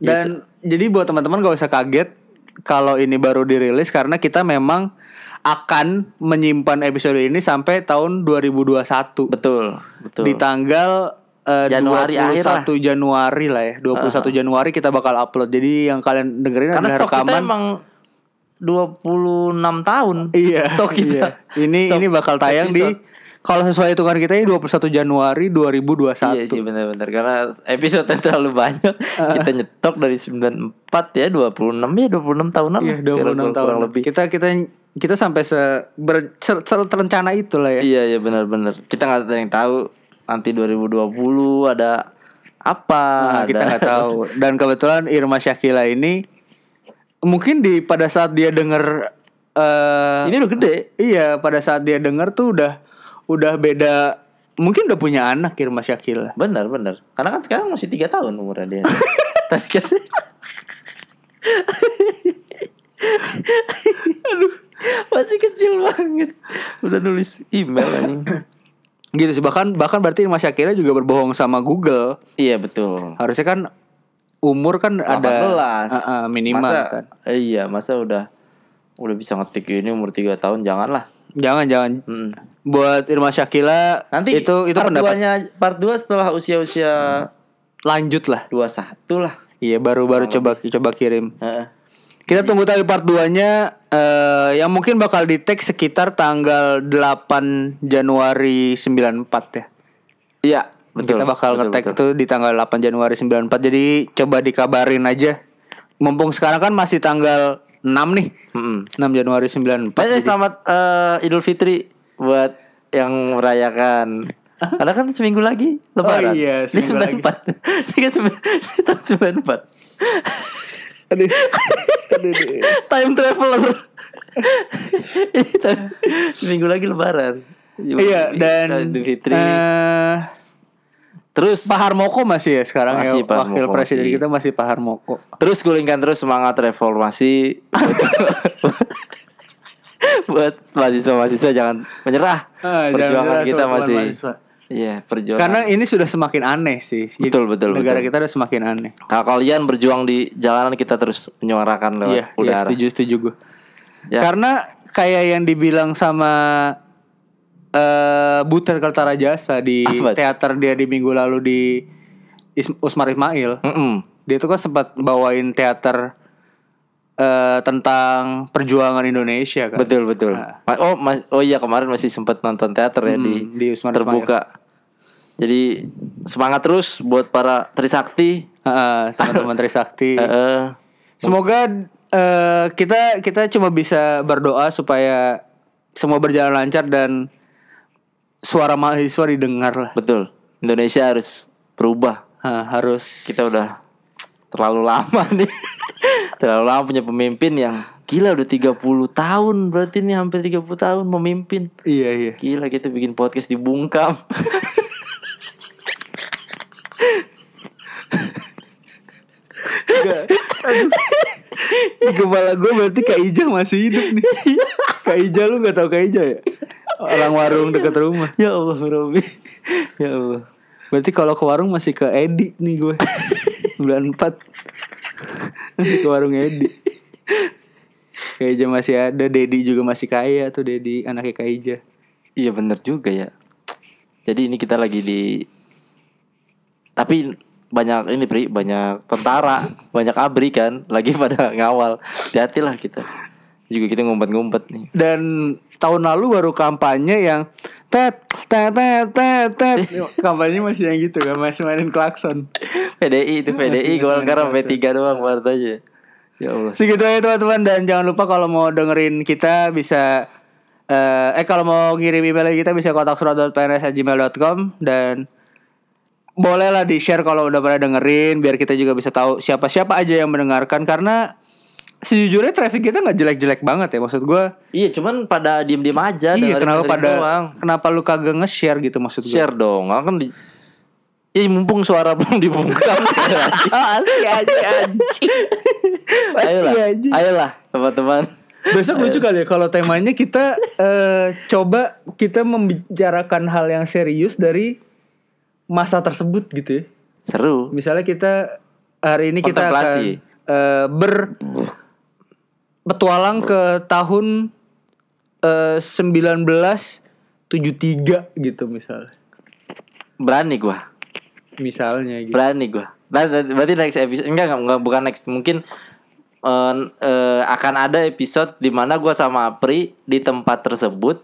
[SPEAKER 2] Dan jadi buat teman-teman gak usah kaget kalau ini baru dirilis karena kita memang akan menyimpan episode ini sampai tahun 2021.
[SPEAKER 3] Betul, betul.
[SPEAKER 2] Di tanggal eh,
[SPEAKER 3] Januari akhir
[SPEAKER 2] 21 Januari lah ya. 21 Januari kita bakal upload. Jadi yang kalian dengerin
[SPEAKER 3] Karena
[SPEAKER 2] adalah
[SPEAKER 3] stok kita
[SPEAKER 2] rekaman.
[SPEAKER 3] emang 26 tahun.
[SPEAKER 2] iya.
[SPEAKER 3] Stok
[SPEAKER 2] iya.
[SPEAKER 3] kita.
[SPEAKER 2] Ini
[SPEAKER 3] Stok
[SPEAKER 2] ini bakal tayang
[SPEAKER 3] episode.
[SPEAKER 2] di kalau sesuai hitungan kita ini 21 Januari 2021.
[SPEAKER 3] Iya sih benar-benar karena episode terlalu banyak.
[SPEAKER 2] Ah.
[SPEAKER 3] Kita nyetok dari 94 ya 26 ya 26 tahunan. lah.
[SPEAKER 2] Iya, 26
[SPEAKER 3] Kurang-
[SPEAKER 2] tahun
[SPEAKER 3] kurang lebih.
[SPEAKER 2] Kita kita kita sampai se ber, ser- ser- terencana itulah ya.
[SPEAKER 3] Iya iya benar-benar. Kita nggak ada yang tahu nanti 2020 ada apa
[SPEAKER 2] Nah, kita
[SPEAKER 3] ada-
[SPEAKER 2] nggak tahu. Dan kebetulan Irma Syakila ini mungkin di pada saat dia denger eh
[SPEAKER 3] Ini udah gede.
[SPEAKER 2] iya pada saat dia denger tuh udah udah beda mungkin udah punya anak Irma Syakila.
[SPEAKER 3] Benar benar. Karena kan sekarang masih tiga tahun umurnya dia. Tadi kata. Aduh, masih kecil banget. Udah nulis email anjing.
[SPEAKER 2] Gitu sih bahkan bahkan berarti Irma Syakila juga berbohong sama Google.
[SPEAKER 3] iya betul.
[SPEAKER 2] Harusnya kan umur kan
[SPEAKER 3] 18
[SPEAKER 2] ada Eh, eh, minimal
[SPEAKER 3] masa,
[SPEAKER 2] kan.
[SPEAKER 3] Iya, masa udah udah bisa ngetik ini umur 3 tahun janganlah.
[SPEAKER 2] Jangan jangan
[SPEAKER 3] Mm.
[SPEAKER 2] buat Irma Syakila
[SPEAKER 3] Nanti
[SPEAKER 2] itu itu
[SPEAKER 3] part
[SPEAKER 2] pendapat
[SPEAKER 3] 2-nya part 2 setelah usia-usia
[SPEAKER 2] lanjut lah.
[SPEAKER 3] 21 lah.
[SPEAKER 2] Iya baru-baru
[SPEAKER 3] Oh.
[SPEAKER 2] coba coba kirim.
[SPEAKER 3] Heeh.
[SPEAKER 2] Kita tunggu tapi part 2-nya eh, yang mungkin bakal di tag sekitar tanggal 8 Januari 94 ya.
[SPEAKER 3] Iya, betul.
[SPEAKER 2] Kita bakal
[SPEAKER 3] betul,
[SPEAKER 2] nge-tag
[SPEAKER 3] betul.
[SPEAKER 2] itu di tanggal 8 Januari 94. Jadi coba dikabarin aja. Mumpung sekarang kan masih tanggal 6 nih.
[SPEAKER 3] Mm-mm.
[SPEAKER 2] 6 Januari 94.
[SPEAKER 3] Pokoknya selamat eh, Idul Fitri buat yang merayakan. Karena kan seminggu lagi Lebaran.
[SPEAKER 2] Oh iya,
[SPEAKER 3] Ini
[SPEAKER 2] seminggu lagi.
[SPEAKER 3] 94. Ini kan sembilan- tahun 94.
[SPEAKER 2] Aduh. Aduh, aduh.
[SPEAKER 3] Time traveler. Ini time- seminggu lagi Lebaran.
[SPEAKER 2] Iya dan
[SPEAKER 3] Idul Fitri.
[SPEAKER 2] eh,
[SPEAKER 3] terus
[SPEAKER 2] Pak Harmoko masih ya sekarang
[SPEAKER 3] Masih
[SPEAKER 2] ya
[SPEAKER 3] Pak
[SPEAKER 2] wakil
[SPEAKER 3] Harmoko,
[SPEAKER 2] presiden
[SPEAKER 3] masih.
[SPEAKER 2] kita masih Pak Harmoko.
[SPEAKER 3] terus gulingkan terus semangat reformasi. buat mahasiswa-mahasiswa jangan menyerah.
[SPEAKER 2] Ah, jangan
[SPEAKER 3] Perjuangan
[SPEAKER 2] menyerah,
[SPEAKER 3] kita
[SPEAKER 2] teman-teman
[SPEAKER 3] masih
[SPEAKER 2] mahasiswa.
[SPEAKER 3] Iya, perjuangan.
[SPEAKER 2] Karena ini sudah semakin aneh sih. Jadi
[SPEAKER 3] Betul, betul,
[SPEAKER 2] Negara
[SPEAKER 3] betul.
[SPEAKER 2] kita udah semakin aneh.
[SPEAKER 3] Kalau kalian berjuang di jalanan kita terus menyuarakan lewat
[SPEAKER 2] Iya, iya
[SPEAKER 3] udara.
[SPEAKER 2] setuju setuju gue.
[SPEAKER 3] Ya.
[SPEAKER 2] Karena kayak yang dibilang sama eh Butet Kertarajasa di
[SPEAKER 3] Apa?
[SPEAKER 2] teater dia di minggu lalu di Is- Usmar Ismail,
[SPEAKER 3] Mm-mm.
[SPEAKER 2] dia tuh kan sempat bawain teater eh tentang perjuangan Indonesia kan.
[SPEAKER 3] Betul betul. Ma- Oh mas- oh iya kemarin masih sempat nonton teater ya di,
[SPEAKER 2] di Usman
[SPEAKER 3] terbuka. Jadi semangat terus buat para Trisakti.
[SPEAKER 2] Heeh, teman-teman Trisakti.
[SPEAKER 3] Eh, eh.
[SPEAKER 2] Semoga eh, kita kita cuma bisa berdoa supaya semua berjalan lancar dan suara mahasiswa didengar lah.
[SPEAKER 3] betul. Indonesia harus berubah.
[SPEAKER 2] Hah, harus
[SPEAKER 3] Kita udah terlalu lama nih. terlalu lama punya pemimpin yang Gila udah 30 tahun berarti nih hampir 30 tahun memimpin.
[SPEAKER 2] Iya iya.
[SPEAKER 3] Gila kita bikin podcast di Bungkam.
[SPEAKER 2] Di kepala gue berarti Kak Ija masih hidup nih. Kak Ija lu nggak tahu Kak Ija ya? Orang warung dekat rumah.
[SPEAKER 3] ya Allah Robi. ya Allah.
[SPEAKER 2] Berarti kalau ke warung masih ke Edi nih gue. Bulan 4. Masih ke warung Edi. Kak Ija masih ada, Dedi juga masih kaya tuh Dedi anaknya Kak Ija.
[SPEAKER 3] Iya bener juga ya. Jadi ini kita lagi di tapi banyak ini Pri, banyak tentara, banyak abri kan lagi pada ngawal. Hati-hatilah kita. Juga kita ngumpet-ngumpet nih.
[SPEAKER 2] Dan tahun lalu baru kampanye yang tet tet tet tet tet. Kampanye masih yang gitu kan, masih mainin klakson.
[SPEAKER 3] PDI itu
[SPEAKER 2] Iya,
[SPEAKER 3] PDI Golkar sama P3 doang partainya. Ya Allah.
[SPEAKER 2] Segitu aja teman-teman dan jangan lupa kalau mau dengerin kita bisa eh, eh kalau mau ngirim email kita bisa kotak surat.pns@gmail.com dan bolehlah di share kalau udah pernah dengerin biar kita juga bisa tahu siapa siapa aja yang mendengarkan karena sejujurnya traffic kita nggak jelek-jelek banget ya maksud gua
[SPEAKER 3] Iya, cuman pada diem-diem aja
[SPEAKER 2] iya
[SPEAKER 3] dengerin-
[SPEAKER 2] kenapa
[SPEAKER 3] dengerin
[SPEAKER 2] pada
[SPEAKER 3] doang.
[SPEAKER 2] kenapa lu kagak nge-share gitu maksud gua
[SPEAKER 3] share dong. Orang kan di Ih, mumpung suara belum dibuka.
[SPEAKER 2] Asli aja anjing.
[SPEAKER 3] ayolah,
[SPEAKER 2] Masih aja.
[SPEAKER 3] ayolah teman-teman.
[SPEAKER 2] Besok lucu kali ya kalau temanya kita eh, coba kita membicarakan hal yang serius dari masa tersebut gitu ya.
[SPEAKER 3] Seru.
[SPEAKER 2] Misalnya kita hari ini kita akan
[SPEAKER 3] Kontemplasi.
[SPEAKER 2] eh, ber petualang ke tahun eh, 1973 gitu misalnya.
[SPEAKER 3] Berani gua.
[SPEAKER 2] Misalnya gitu.
[SPEAKER 3] Berani gua. Nah, berarti next episode enggak, enggak, enggak, bukan next mungkin eh, eh, akan ada episode di mana gua sama Apri di tempat tersebut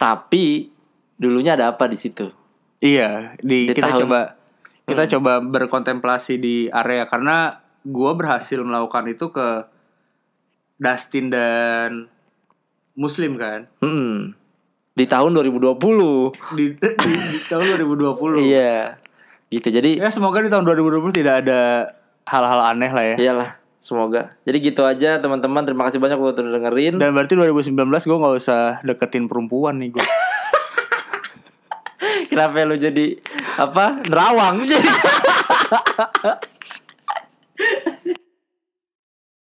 [SPEAKER 3] tapi dulunya ada apa di situ?
[SPEAKER 2] Iya, di,
[SPEAKER 3] Di
[SPEAKER 2] kita
[SPEAKER 3] tahun-
[SPEAKER 2] coba kita coba berkontemplasi di area karena gua berhasil melakukan itu ke Dustin dan Muslim kan
[SPEAKER 3] Mm-mm. Hmm, Di tahun 2020.
[SPEAKER 2] di, di, di tahun 2020.
[SPEAKER 3] Iya. Gitu. Jadi
[SPEAKER 2] Ya semoga di tahun 2020 tidak ada hal-hal aneh lah ya.
[SPEAKER 3] iyalah, semoga. Jadi gitu aja teman-teman, terima kasih banyak buat udah dengerin.
[SPEAKER 2] Dan berarti 2019 gua nggak usah deketin perempuan nih gua.
[SPEAKER 3] Kenapa lu jadi apa? Nerawang jadi.